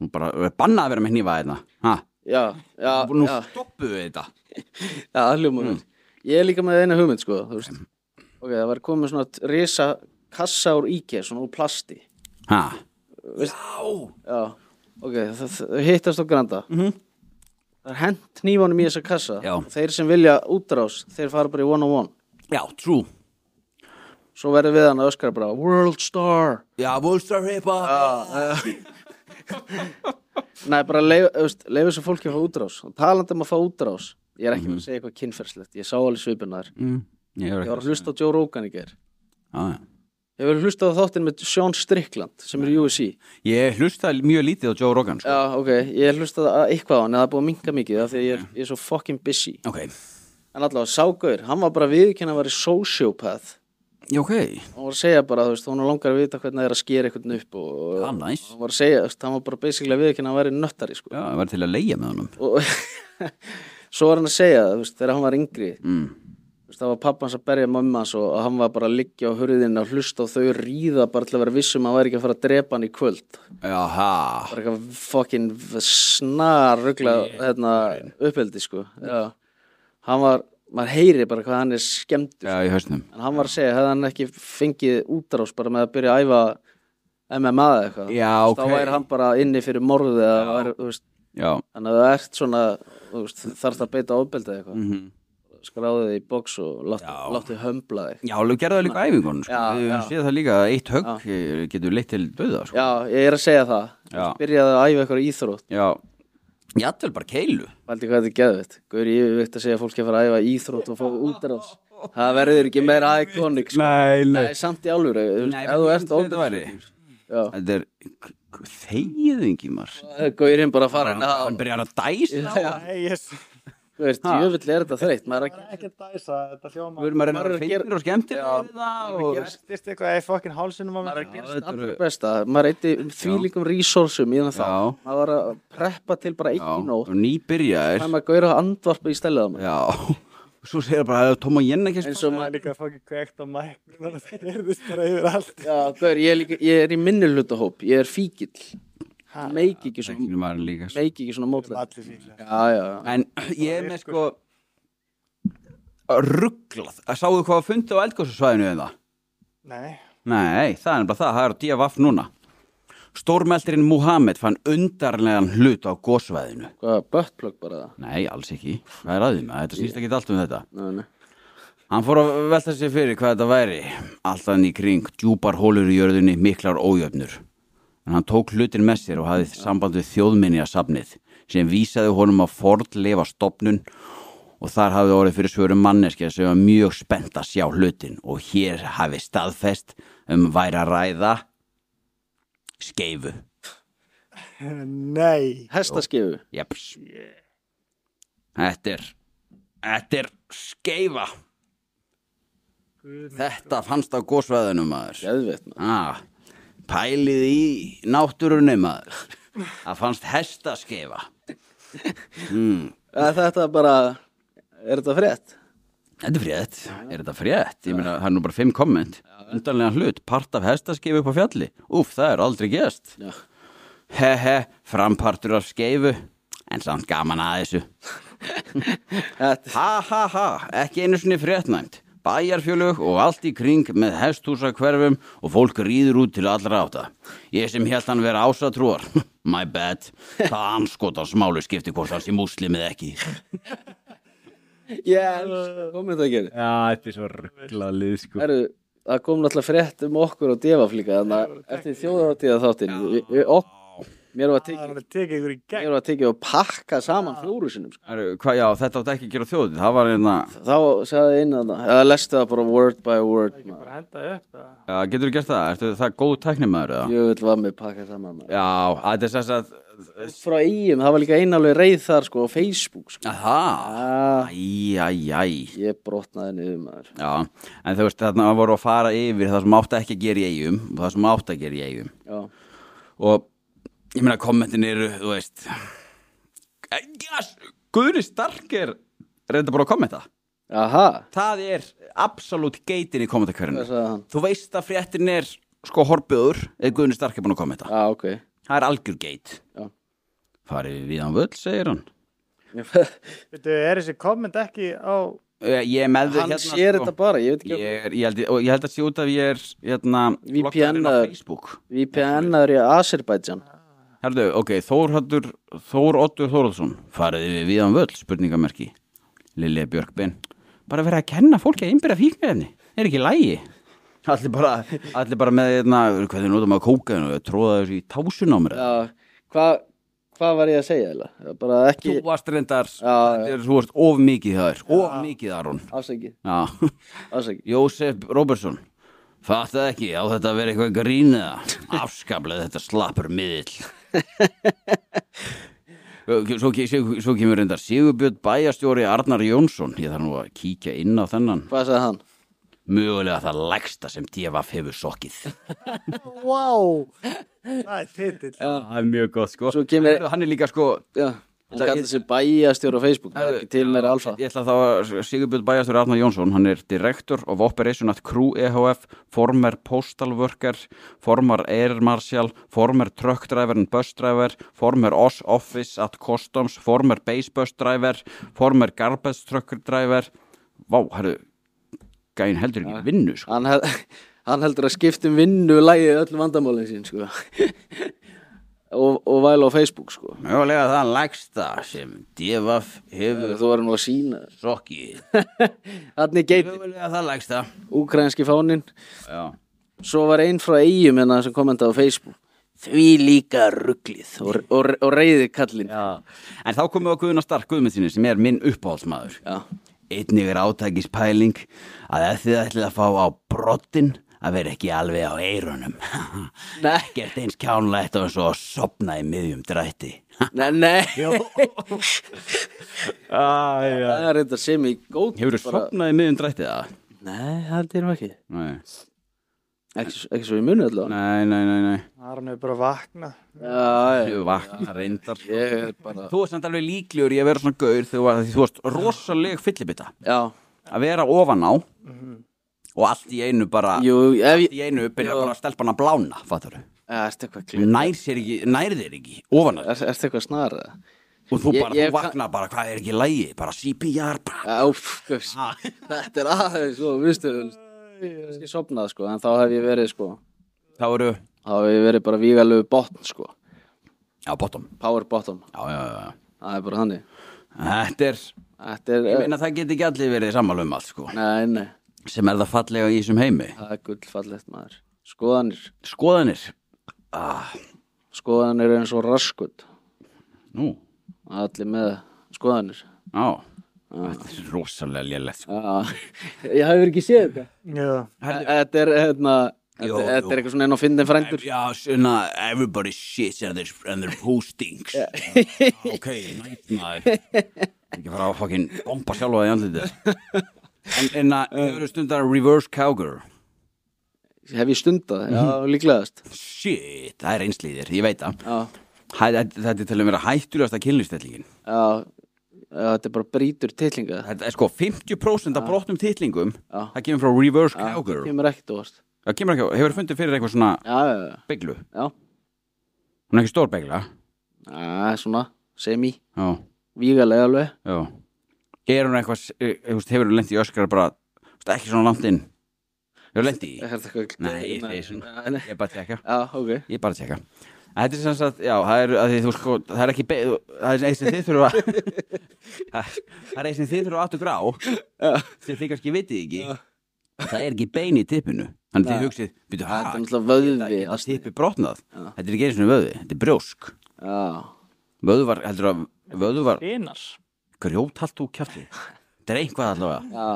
hún bara "Þú er bannað að vera með hnífa hérna, ha, já, já, nú já, stoppuðu við þetta já, alljóma mm. ég er líka með eina hugmynd sko, þú Mm. veist, ok, það var komið svona risa kassa úr íkja, svona úr plasti ha, Já, ok, það, það hittast á granda -hmm. Það er hent nývanum í þessa kassa Já. Og Þeir sem vilja útrás, þeir fara bara í one on one já, trú Svo verður við hann að öskra bara World Star já, Wolfstar Hippa Nei, bara leif, veist, leifu sem fólki að fá útrás Og talandi um að fá útrás Ég er ekki mm að segja eitthvað kynferðslegt Ég sá alveg svipin þar mm, ég Ég var var að hlusta á Joe Rogan í ger Já, já. Ég var að hlusta á þáttinn með Sean Strickland Sem er í UFC Ég hlustaði mjög lítið á Joe Rogan sko. Já, ok, ég hlustaði að eitthvað á hann En það er búið að minka mikið af Því að ég er, ég er svo fucking busy Ok, En allavega, Ságaur, hann var bara viðkynna að vera sociopath já ok hann var að segja bara, þú veist, hún langar að vita hvernig það er að skera eitthvað upp og, og Það er næs hann var að segja, þú veist, hann var bara basically við ekki að hann væri nöttari, sko Já, ég var til að leigja með honum og svo var hann að segja, þú veist, þegar hann var yngri mm. þú veist, það var pappans að berja mamma hans og, og hann var bara að liggja á hurðin og hlusta og þau ríða bara til að vera vissum að hann væri ekki að fara að drepa hann í kvöld Jaha bara eitthvað fucking snar ruggla hérna, uppeldi, sko Já. hann var, maður heyri bara hvað hann er skemmtur Já, ég hausnum En hann var að segja, hefði hann ekki fengið útrás bara með að byrja að æfa MMA eða eitthvað. Þú Já, veist, ok. Þá væri hann bara inni fyrir morðið eða væri, þú veist, Já, þannig að það ert svona, þú veist, þarf það að beita ofbeldið eða eitthvað. Mm Mhm. Skráðu þig í box og láttu, láttu hömbla þig. já alveg gerðu það líka á æfingunum sko. Já, Við já. séð það líka að eitt högg eh, getur leitt til döða sko. Já, ég er að segja það. Já. Byrjaði að æfa eitthvað íþrótt. Já Jafnvel bara keilu Valdi hvað þetta er geðvitt. Guður, ég veit að segja að fólk er að fara að æfa íþrótt og fá útrás. Það verður ekki meira iconic, sko. Nei, Nei, samt í alvöru, þú veist, ef þú ert þetta ofbeldið. væri Já. Þetta er þegiðingi mar Guðurinn bara farin að Hann byrjar að dæsa á- Nei, ég s- Þú veist, jöfull er þetta þreytt maður er ekki, ekki að dæsa þetta hljóma Við erum að reyna Maður að er að gera- finnir og skemmtir Ég veistist eitthvað í fokkin hálsinum á mér allra besta maður eitti þvílingum resursum í þannig þá Já. maður var að preppa til bara eitt í nót Nýbyrjaðir það maður gauður að andvarpa í stelðið á maður Já, svo segir bara að Tóma Jenna ekki eins og Það er maður líka fokkin kveikt á mæk Það heyrðist bara yfir allt Já, gaur, ég, er líka, ég er í minnihlutahóp, ég er fíkil meiki ekki svona spilinu maður líka sko. meiki ekki svona mótlega Allir fíklar já, já, já. En ég er með sko rugglað Sáðu hvað að fundi á eldgóðsvæðinu en það? Nei, Nei, það er nefnilega það, það er á DFF núna Stórmeldurinn Muhammed fann undarlegan hlut á gósvæðinu hvað, buttplug bara það Nei, alls ekki, hvað er aðeins með þetta snýst ekki allt um þetta Nei, nei. Hann fór að velta sér fyrir hvað þetta væri. Allt hann í kring, djúpar hólur í jörðinni, miklar ójöfnur. En hann tók hlutin með sér og hafði samband við þjóðminni að safnið, sem vísaði honum að fordleifa stopnun og þar hafði orðið fyrir svörum manneskja sem var mjög spennt að sjá hlutin og hér hafi staðfest um væri að ræða skeifu. Nei Hestaskefu Jeps Þetta er Þetta er skeifa Þetta fannst á gósvæðinu maður Geðveitt, maður. ah, Pælið í náttúrunni maður Það fannst hesta skeifa Að Þetta bara Er þetta frétt? Þetta er frétt, er þetta frétt? Ég meina, það er nú bara fimm komment Undanlega hlut, part af hestaskeifu upp á fjalli Úf, það er aldrei gest Já. Hehe, frampartur af skeifu En samt gaman að þessu Þetta Ha ha ha, ekki einu sinni fréttnæmt Bæjarfjölög og allt í kring með hesthúsakverfum og fólk rýður út til allra átta. Ég sem held hann vera ásatrúar, my bad, það anskotans máli skipti hvort hans í múslimið ekki. Yes Komum þetta að gera Já, þetta er svo rugglað lið sko Herru, það kom náttúrulega frétt um okkur og devaflíka Þannig að eftir þjóðaráttíða þáttinn vi- vi- ok- Mér var tekið Það er að teka ykkur í gegn Mér var tekið að pakka saman flóru sinum sko. Heru, hvað já, þetta átti ekki að gera þjóðið, það var hérna, einna, Þá sagði inn að það Eða lestu það bara word by word maður. Bara henda upp það já, getur þú gert það, ertu það góð tæknimaður eða? Jöfull var með pakka saman maður. Já, að þetta er sess að, Frá eigum, það var líka einn alveg reið þar sko á Facebook sko. aha, ah, æjæjæj. Ég brotnaði niður maður Já, en þú veist þarna voru að fara yfir það sem átti ekki að gera í eigum og það sem átti að gera í eigum Já, og ég meina kommentin eru, þú veist yes, Guðri Stark er reynda bara að kommenta aha, það er absolutt geitin í kommentakverðinu hvað sagði hann? þú veist að fréttin er sko horfiður eða Guðri Stark er búin að kommenta Já, ok það er algjör geit Já. farið við hann völl, segir hann Veitu, er þessi komment ekki á Eh, ég er með þau Hann hérna sér sko. þetta bara, ég veit ekki ég, er, ég, held, og ég held að sé út af ég er hérna, VPN loggaður inn á -aður. Facebook VPN-aður í Azerbaijan Herðu, ok, Þórhaldur, Þór Oddur Þórhaldsson, farið við viðan völl, spurningamerki. Lilja Björkbein, bara verið að kenna fólki að innbyrja fíknefni, er ekki lægi. Allir bara, allir bara með, hérna, hvernig notum að kóka hennu, tróða þessu í tásun á mér. Já, hvað hva var ég að segja eða? Bara Þú ekki, varst reyndar, Já, já. þetta er, þú varst of mikið það er, of mikið Aron. afsæki, Já, afsæki Jósef Róbertsson, fattaði ekki á þetta að vera eitthvað grínaða, afskaplega þetta slappur miðill. Svo, ke- svo, svo kemur reyndar Sigurbjörn bæjastjóri Arnar Jónsson ég þarf nú að kíkja inn á þennan Hvað sagði hann? mögulega það lægsta sem DFF hefur sokkið Vá Það er titill Það er mjög gott sko Svo kemur, hann er líka sko já, hann kallar sig bæjastjóra á Facebook það er ekki til meira alfa ég ætla þá að Sigurbjörn bæjastjóri Arnar Jónsson hann er direktor of operation at Crew EHF former postal worker former air marshal former truck driver and bus driver former OS office at customs former base bus driver former garbage truck driver vá, herru gæin heldur ekki vinnu sko Hann, hel, hann heldur að skiptum vinnu lægi öll vandamálin sín, sko og, og væla á Facebook, sko Mögulega það lægsta sem Devaf hefur Þú var nú að sína sokkið. Þannig geit Mögulega það lægsta. úkrænski fáninn Já. Svo var einn frá eigum en sem kommentaði á Facebook Því líka rugglið og, og, og reyði kallinn Já, En þá komum við á Guðuna Stark Guðmundsinu sem er minn uppáhaldsmaður. Einnig er átækispæling að ef þið ætlið að fá á brottin að vera ekki alveg á eirunum. Nei. Gert eins kjánlegt og eins og að sopna í miðjum drætti. Nei, nei, Æja það er reynda sem í góð Hefur þú sopnað í miðjum drætti það? Nei, það er nú ekki Nei. Ekki, ekki svo ég muni allavega Nei, nei, nei, nei. Arn er bara að vakna Já, Þú vakna reyndar. já, ég er bara Þú er samt alveg líklegur í að vera svona gaur þegar þú varst rosaleg fyllibita. Já, að vera ofan á og allt í einu bara jú, ef allt ég í einu byrja Jú. bara að stelpa hann að blána fattar Ertu eitthvað klíð? nær sér ekki, nær þér ekki ofan á þér. Er, ertu eitthvað snar eða? og þú Ég- bara, ég þú kann- vakna bara hvað er ekki í lægi, bara CPR bara. Já, pff, guðs. þetta er aðeins svo, viðstu Kannski sopnað sko, en þá hef ég verið sko þá eru, Þá hef ég verið bara vígalegu botn sko já bottom Power bottom, já, já, já, já. það er bara þannig þetta er, Þetta er, ég meina það get ekki allir verið sammála um allt sko, nei, nei sem er það fallega í þessum heimi, Það er gullfallegt maður Skoðanir, skoðanir skoðanir er eins og raskut nú, Allir með skoðanir já þetta er rosalega lélegt sko. Já, ég hafði ekki séð þetta Já Þetta er hérna Þetta Jú, þetta jú. er eitthvað svona enn á fyndin frændur Já, svona, everybody shits and their, and their postings Ok, nætt maður Ekki fara að fokkin bomba sjálfa í andlitið En, en að, hefur stundar reverse cowgirl Hef ég stundað, já, Mhm. líklegast Shit, það er einslýðir, ég veit það Já, Hæ, Þetta þetta er til að vera hættulegasta kynlýstellingin já, já þetta er bara brýtur titlinga Þetta er sko 50% af brotnum titlingum Já. Það kemur frá reverse Það cowgirl kemur ekkert óvart Það kemur ekki, hefur fundið fyrir eitthvað svona Já, já, já, beglu já, Hún er ekki stór begla já, svona, semi, Já, vígalega alveg já Er hún eitthvað, s- eh, þú veist, hefur hún lent í öskara bara, þú veist, ekki svona langt inn Hefur lent í Er þetta eitthvað- Nei, ég er svona Nei, Ég er bara að tjekka Já, ok Ég er bara að tjekka Þetta er sem sagt, já, það er, að því, þú sko, það er ekki be- þú- Það er eins sem þið þurfa að- Það er eins sem þið þurfa aftur grá sem þið kannski vitið ekki Það er ekki bein í tippinu Þannig þið hugsið, byrju, Þetta er hæ, náttúrulega vöðvi það tippi brotnað Þetta er ekki einu svona vöðu, þetta er brjósk Já, Vöðu var, heldur að, vöðu var Einar grjót haldt þú kjafti Þetta er eitthvað allavega já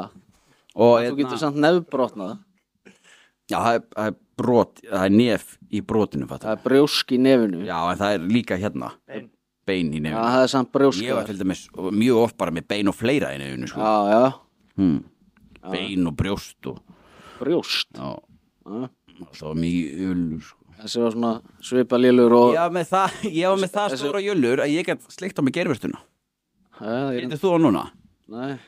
Og Þú hérna- getur samt nefbrotnað Já, það er, það er brot, það er nef í brotinu, Það fattar. er brjósk í nefinu Já, Já, en það er líka hérna, bein, í nefinu. það er samt brjósk ég var þar. til dæmis mjög oft bara með bein og fleira í nefinu, sko. sko. Já, já, Hmm. Bein og brjóst og, brjóst já, Já. það var mjög öllu, sko. Þessi var svona svipa lélur og Já, með það, ég var með það stóra jöllur að ég gætt sleikt á mig gerfustuna. Já, ég- Getur þú á núna? Nei,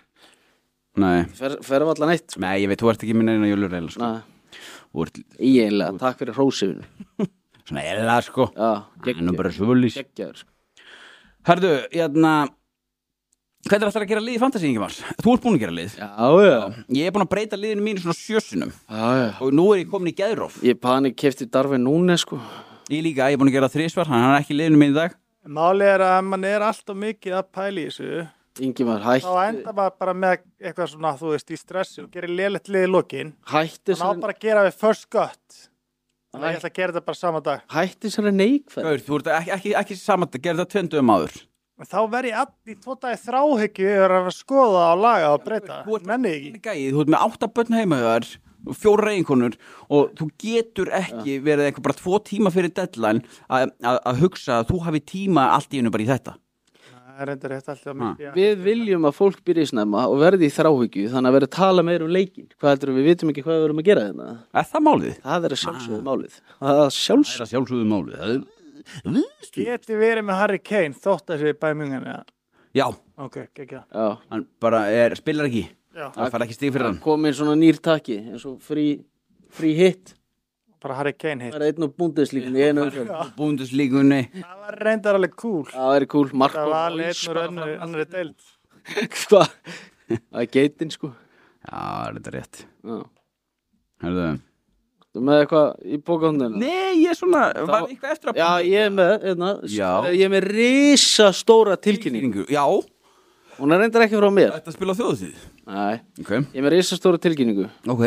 Nei, fer, fer um allan eitt sko. nei, ég veit, þú ert ekki minn eina jöllur eða, sko. Nei, Þú ert eiginlega, takk fyrir hrósifinu svona eða, sko. Já, Hann er geggjaður bara svolís. Geggjaður sko. Herðu, hérna, hvað er alltaf að gera lið í fantasíingi, Mars? Þú ert búin að gera lið. Já, já, Ég er búin að breyta liðinu mínu svona sjösunum já, já og nú er ég komin í geðróf Ég panik kefti Darfi núna sko Ég líka, ég er búin að gera þrísvar, hann er ekki í liðinu mínu í dag Málið er að ef mann er alltaf mikið að pæla í þessu Ingimar þá hætti, enda maður bara með eitthvað svona þú veist í stressi og gerir lélegt liði lokin hætti, þannig á sér, bara að gera við first cut þannig Æ. að ég ætla að gera þetta bara sama dag hætti sér að neikvæð Gaur, þú ert ekki, ekki, ekki saman að gera það tvöndum áður en þá verð ég all í tvo dagi þráhyggju yfir að skoða og laga og breyta Þú ert- menni ég ekki Gæi, Þú ert með átta börn heima hjá þér og fjóra reynkonur og þú getur ekki verið eitthvað bara tvo tíma fyrir deadline að að- að hugsa að þú hafi tíma allt í hennu bara í þetta það er reyndar rétt alltaf mikið Við viljum að fólk byrja í snemma og verði í þráhyggju þannig að vera að tala meira um leikin Hvað heldur við vitum ekki hvað við verum að gera þetta Er það málið? Það er að sjálfsögðu málið Það er að Það sjálfsögðu er að sjálfsögðu málið Það er- geti verið með Harry Kane þótt að þessi bæmjöngan Já, ok, ekki það Já, hann bara er, spilar ekki Já. Það fara ekki stig fyrir hann komin svona nýr taki eins og frí, frí hitt bara Harry Kane hitt Það er einn og búndeslíkin í einu umferð Búnduslíkunni það var reyndar alveg cool Já, það er cool, Marko það var alveg einn og önnur annari deild Hvað? Það er geitin sko Já, það er þetta rétt Já. Herðu Þú með eitthvað í bókahundinu? Nei, ég er svona, var eitthvað eftir að Já, ég er með, einna, Já. ég er með risa stóra tilkynning Tilkynningu, já Hún er reyndar ekki frá mér Þetta spila þjóðutíð Nei, Ok, ég er með risa stóra tilkynningu ok,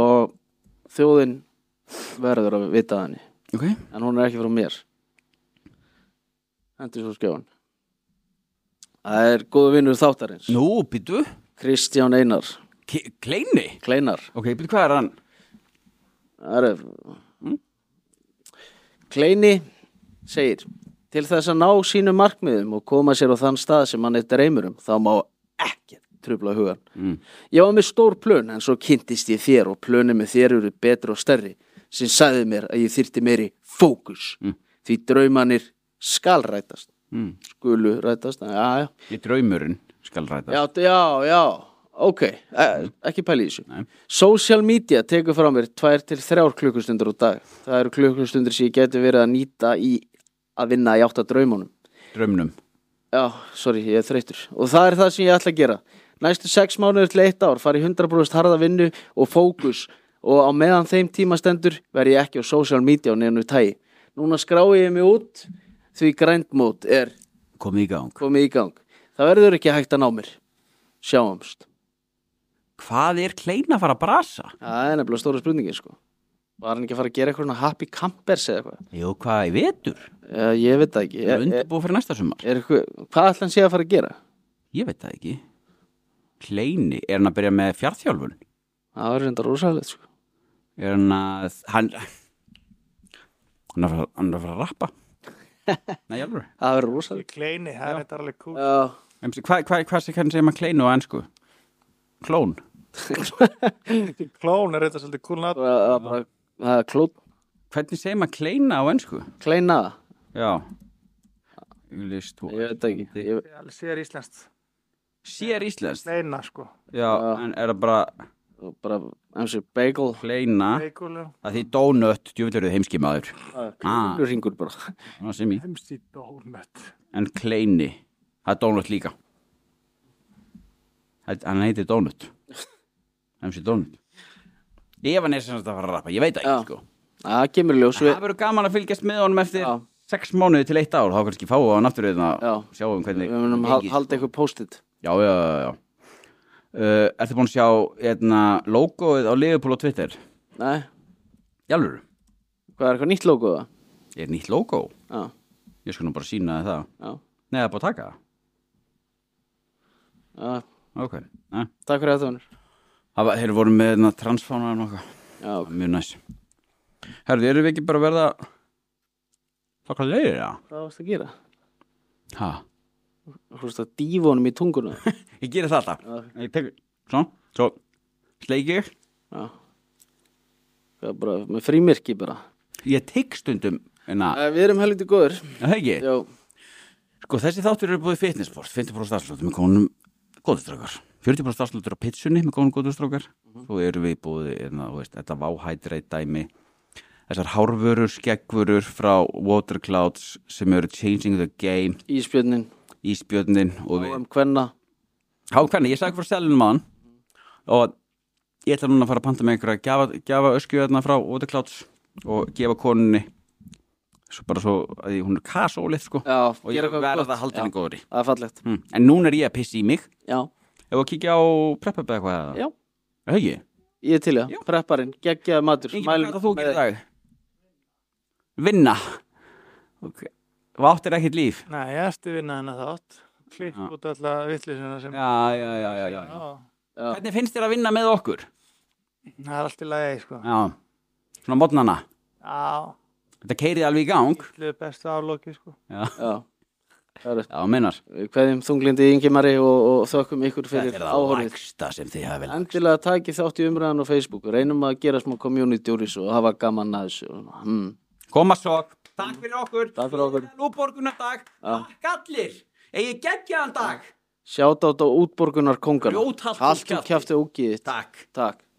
og þjóðin verður að vita af henni ok en hún er ekki frá mér Hendur svo skjáin Það er góðu vinnur þáttarins Nú, býtu Kristján Einar, K- Kleini Kleinar Ok, býtu, hvað er hann? Það er Hm? Kleini segir til þess að ná sínum markmiðum og koma sér á þann stað sem hann er dreymur um þá má ekkert trubla hugan Mm. Ég var með stór plön en svo kynntist ég þér og plönin með þér eru betri og stærri sem sagði mér að ég þyrti meiri fókus Mm. því draumanir skal rætast Mm. skulu rætast já, já, Ég draumurinn skal ræta já, já, já. ok, e ekki pæli í þessu Nei. Social media tekur frá mér tvær til þrjár klukkustundur á dag það eru klukkustundur sem ég geti verið að nýta í að vinna í átta draumunum Draumnum já, sorry, ég er þreytur og það er það sem ég ætla að gera næstu sex mánuður til eitt ár fari 100% harða vinnu og fókus og á meðan þeim tíma stendur verð ég ekki á social media á nefnu tægi núna skrái ég mig út því grændmót er Komið í gang komið í gang það verður ekki hægt að ná mér sjáumst Hvað er Kleini að fara að brasa? það er nefnilega stóra spurningin sko var hann ekki að fara að gera eitthvað svona happy campers eða eitthvað Jú, hvað er vetur? Eh, ég veit það ekki Er er, er, undirbúið fyrir næsta sumar? er, eitthvað- hvað ætla hann sé að fara að gera Ég veit það ekki Kleini, er hann að byrja með fjartjálfun? það var reynda rosalegt sko er hann að hann hann er að fara- hann er að fara að rappa nei, alveg það verður rosalega Kleini, það er þetta alveg kúl Já, hvað hva, hva, hvernig segir maður kleinu á ennsku? klón Klón er þetta svolítið kúl nátt það er bara það er kló, hvernig segir maður kleina á ennsku? kleina já List, Ég veit það ekki ég, Sér íslenskt sér íslensk Kleina, sko já, en er það bara bara, eins og bagel kleina Veikulega að því donut, djúvill eru þið heimskimaður Ah. klínur hringur bara Ná, sem í. Hemsi dónut en kleini, það er donut líka Það- hann heitir donut MC donut ef hann er sem þetta að fara að rappa, ég veit það Já. ekki sko. það kemur í ljós við það verður gaman að fylgjast með honum eftir Já. sex mánuði til eitt ár, þá kannski fáum við hann aftur við Já. að sjáum hvernig við munum hal- gengið, halda eitthvað post-it já, já, já, já. Uh, ertu búin að sjá hérna, logoið á Liverpool og Twitter nei, jálfur, hvað er eitthvað nýtt logo það? er nýtt logo Já, ég sko nú bara sína það já, Nei, það er búin að taka það. já Ok. eh. Nei. takk fyrir þetta honur Það var, þeir voru með hérna transfánar og okkar. já, ok. Mjög næs. Herðu, erum við ekki bara að verða þakka leiðir það? hvað varst að gera? Hæ? þú veist að dífa honum í tunguna Ég gerir það alltaf. Ég tek, svo, svo, sleiki ég. já það er bara með frímirki bara Ég tek stundum, en að, Æ, við erum helviti góður það ekki. já, Sko, þessi þáttur eru búið í fitnessport, 50% afsláttur með konum góðustrákar. 40% afsláttur á pitsunni með konum góðustrákar. Mhm. Svo eru við búið, hérna, þú veist, þetta váhætreit dæmi. Þessar hárvörur, skeggvörur frá Waterclouds sem eru changing the game íspjörnin Ísbjörnin og við um hvenna Há hvernig, ég sagði frá selin mann og ég ætla núna að fara að panta með einhverja gjafa, gjafa öskju þarna frá Ótekláts og gefa konunni svo bara svo að því hún er kasólið sko já, og ég gera eitthvað verða gott. að halda henni Já, góðri það er fallegt hm. en núna er ég að pissa í mig já, ef að kíkja á preppa eða eitthvað Já. Er það ekki? ég er til í Já. það prepparinn, geggjaði matur Ingi, Mælum hvað ætlar þú að með gera í þeim. dag? Vinna Ok. Váttir ekkert líf Nei, ég ersti vinna hennar þátt Klipp Já. út alltaf vittlisina sem Já, já, já, já, já. Hvernig finnst þér að vinna með okkur? Það er allt í lagi, sko Já, svona modnana Já, Þetta keiriði alveg í gang allir bestu aflóki, sko já, það er Já, minnar Við kveðjum þunglindi yngjumari og, og þökkum ykkur fyrir Þetta er það áhorfið. lægsta sem þið hafa vel Endilega taki þátt í umræðan á Facebook og reynum að gera smá community úr þessu og hafa gaman að þessu. Hmm. Koma svo Takk fyrir okkur Takk fyrir okkur. Lúborgunardag Takk allir Egið geggjaðan dag Sjátt á útborgunar um kongana. Grjóthart og Haltum kjafti. kjæfti og ógiðið. Takk Takk.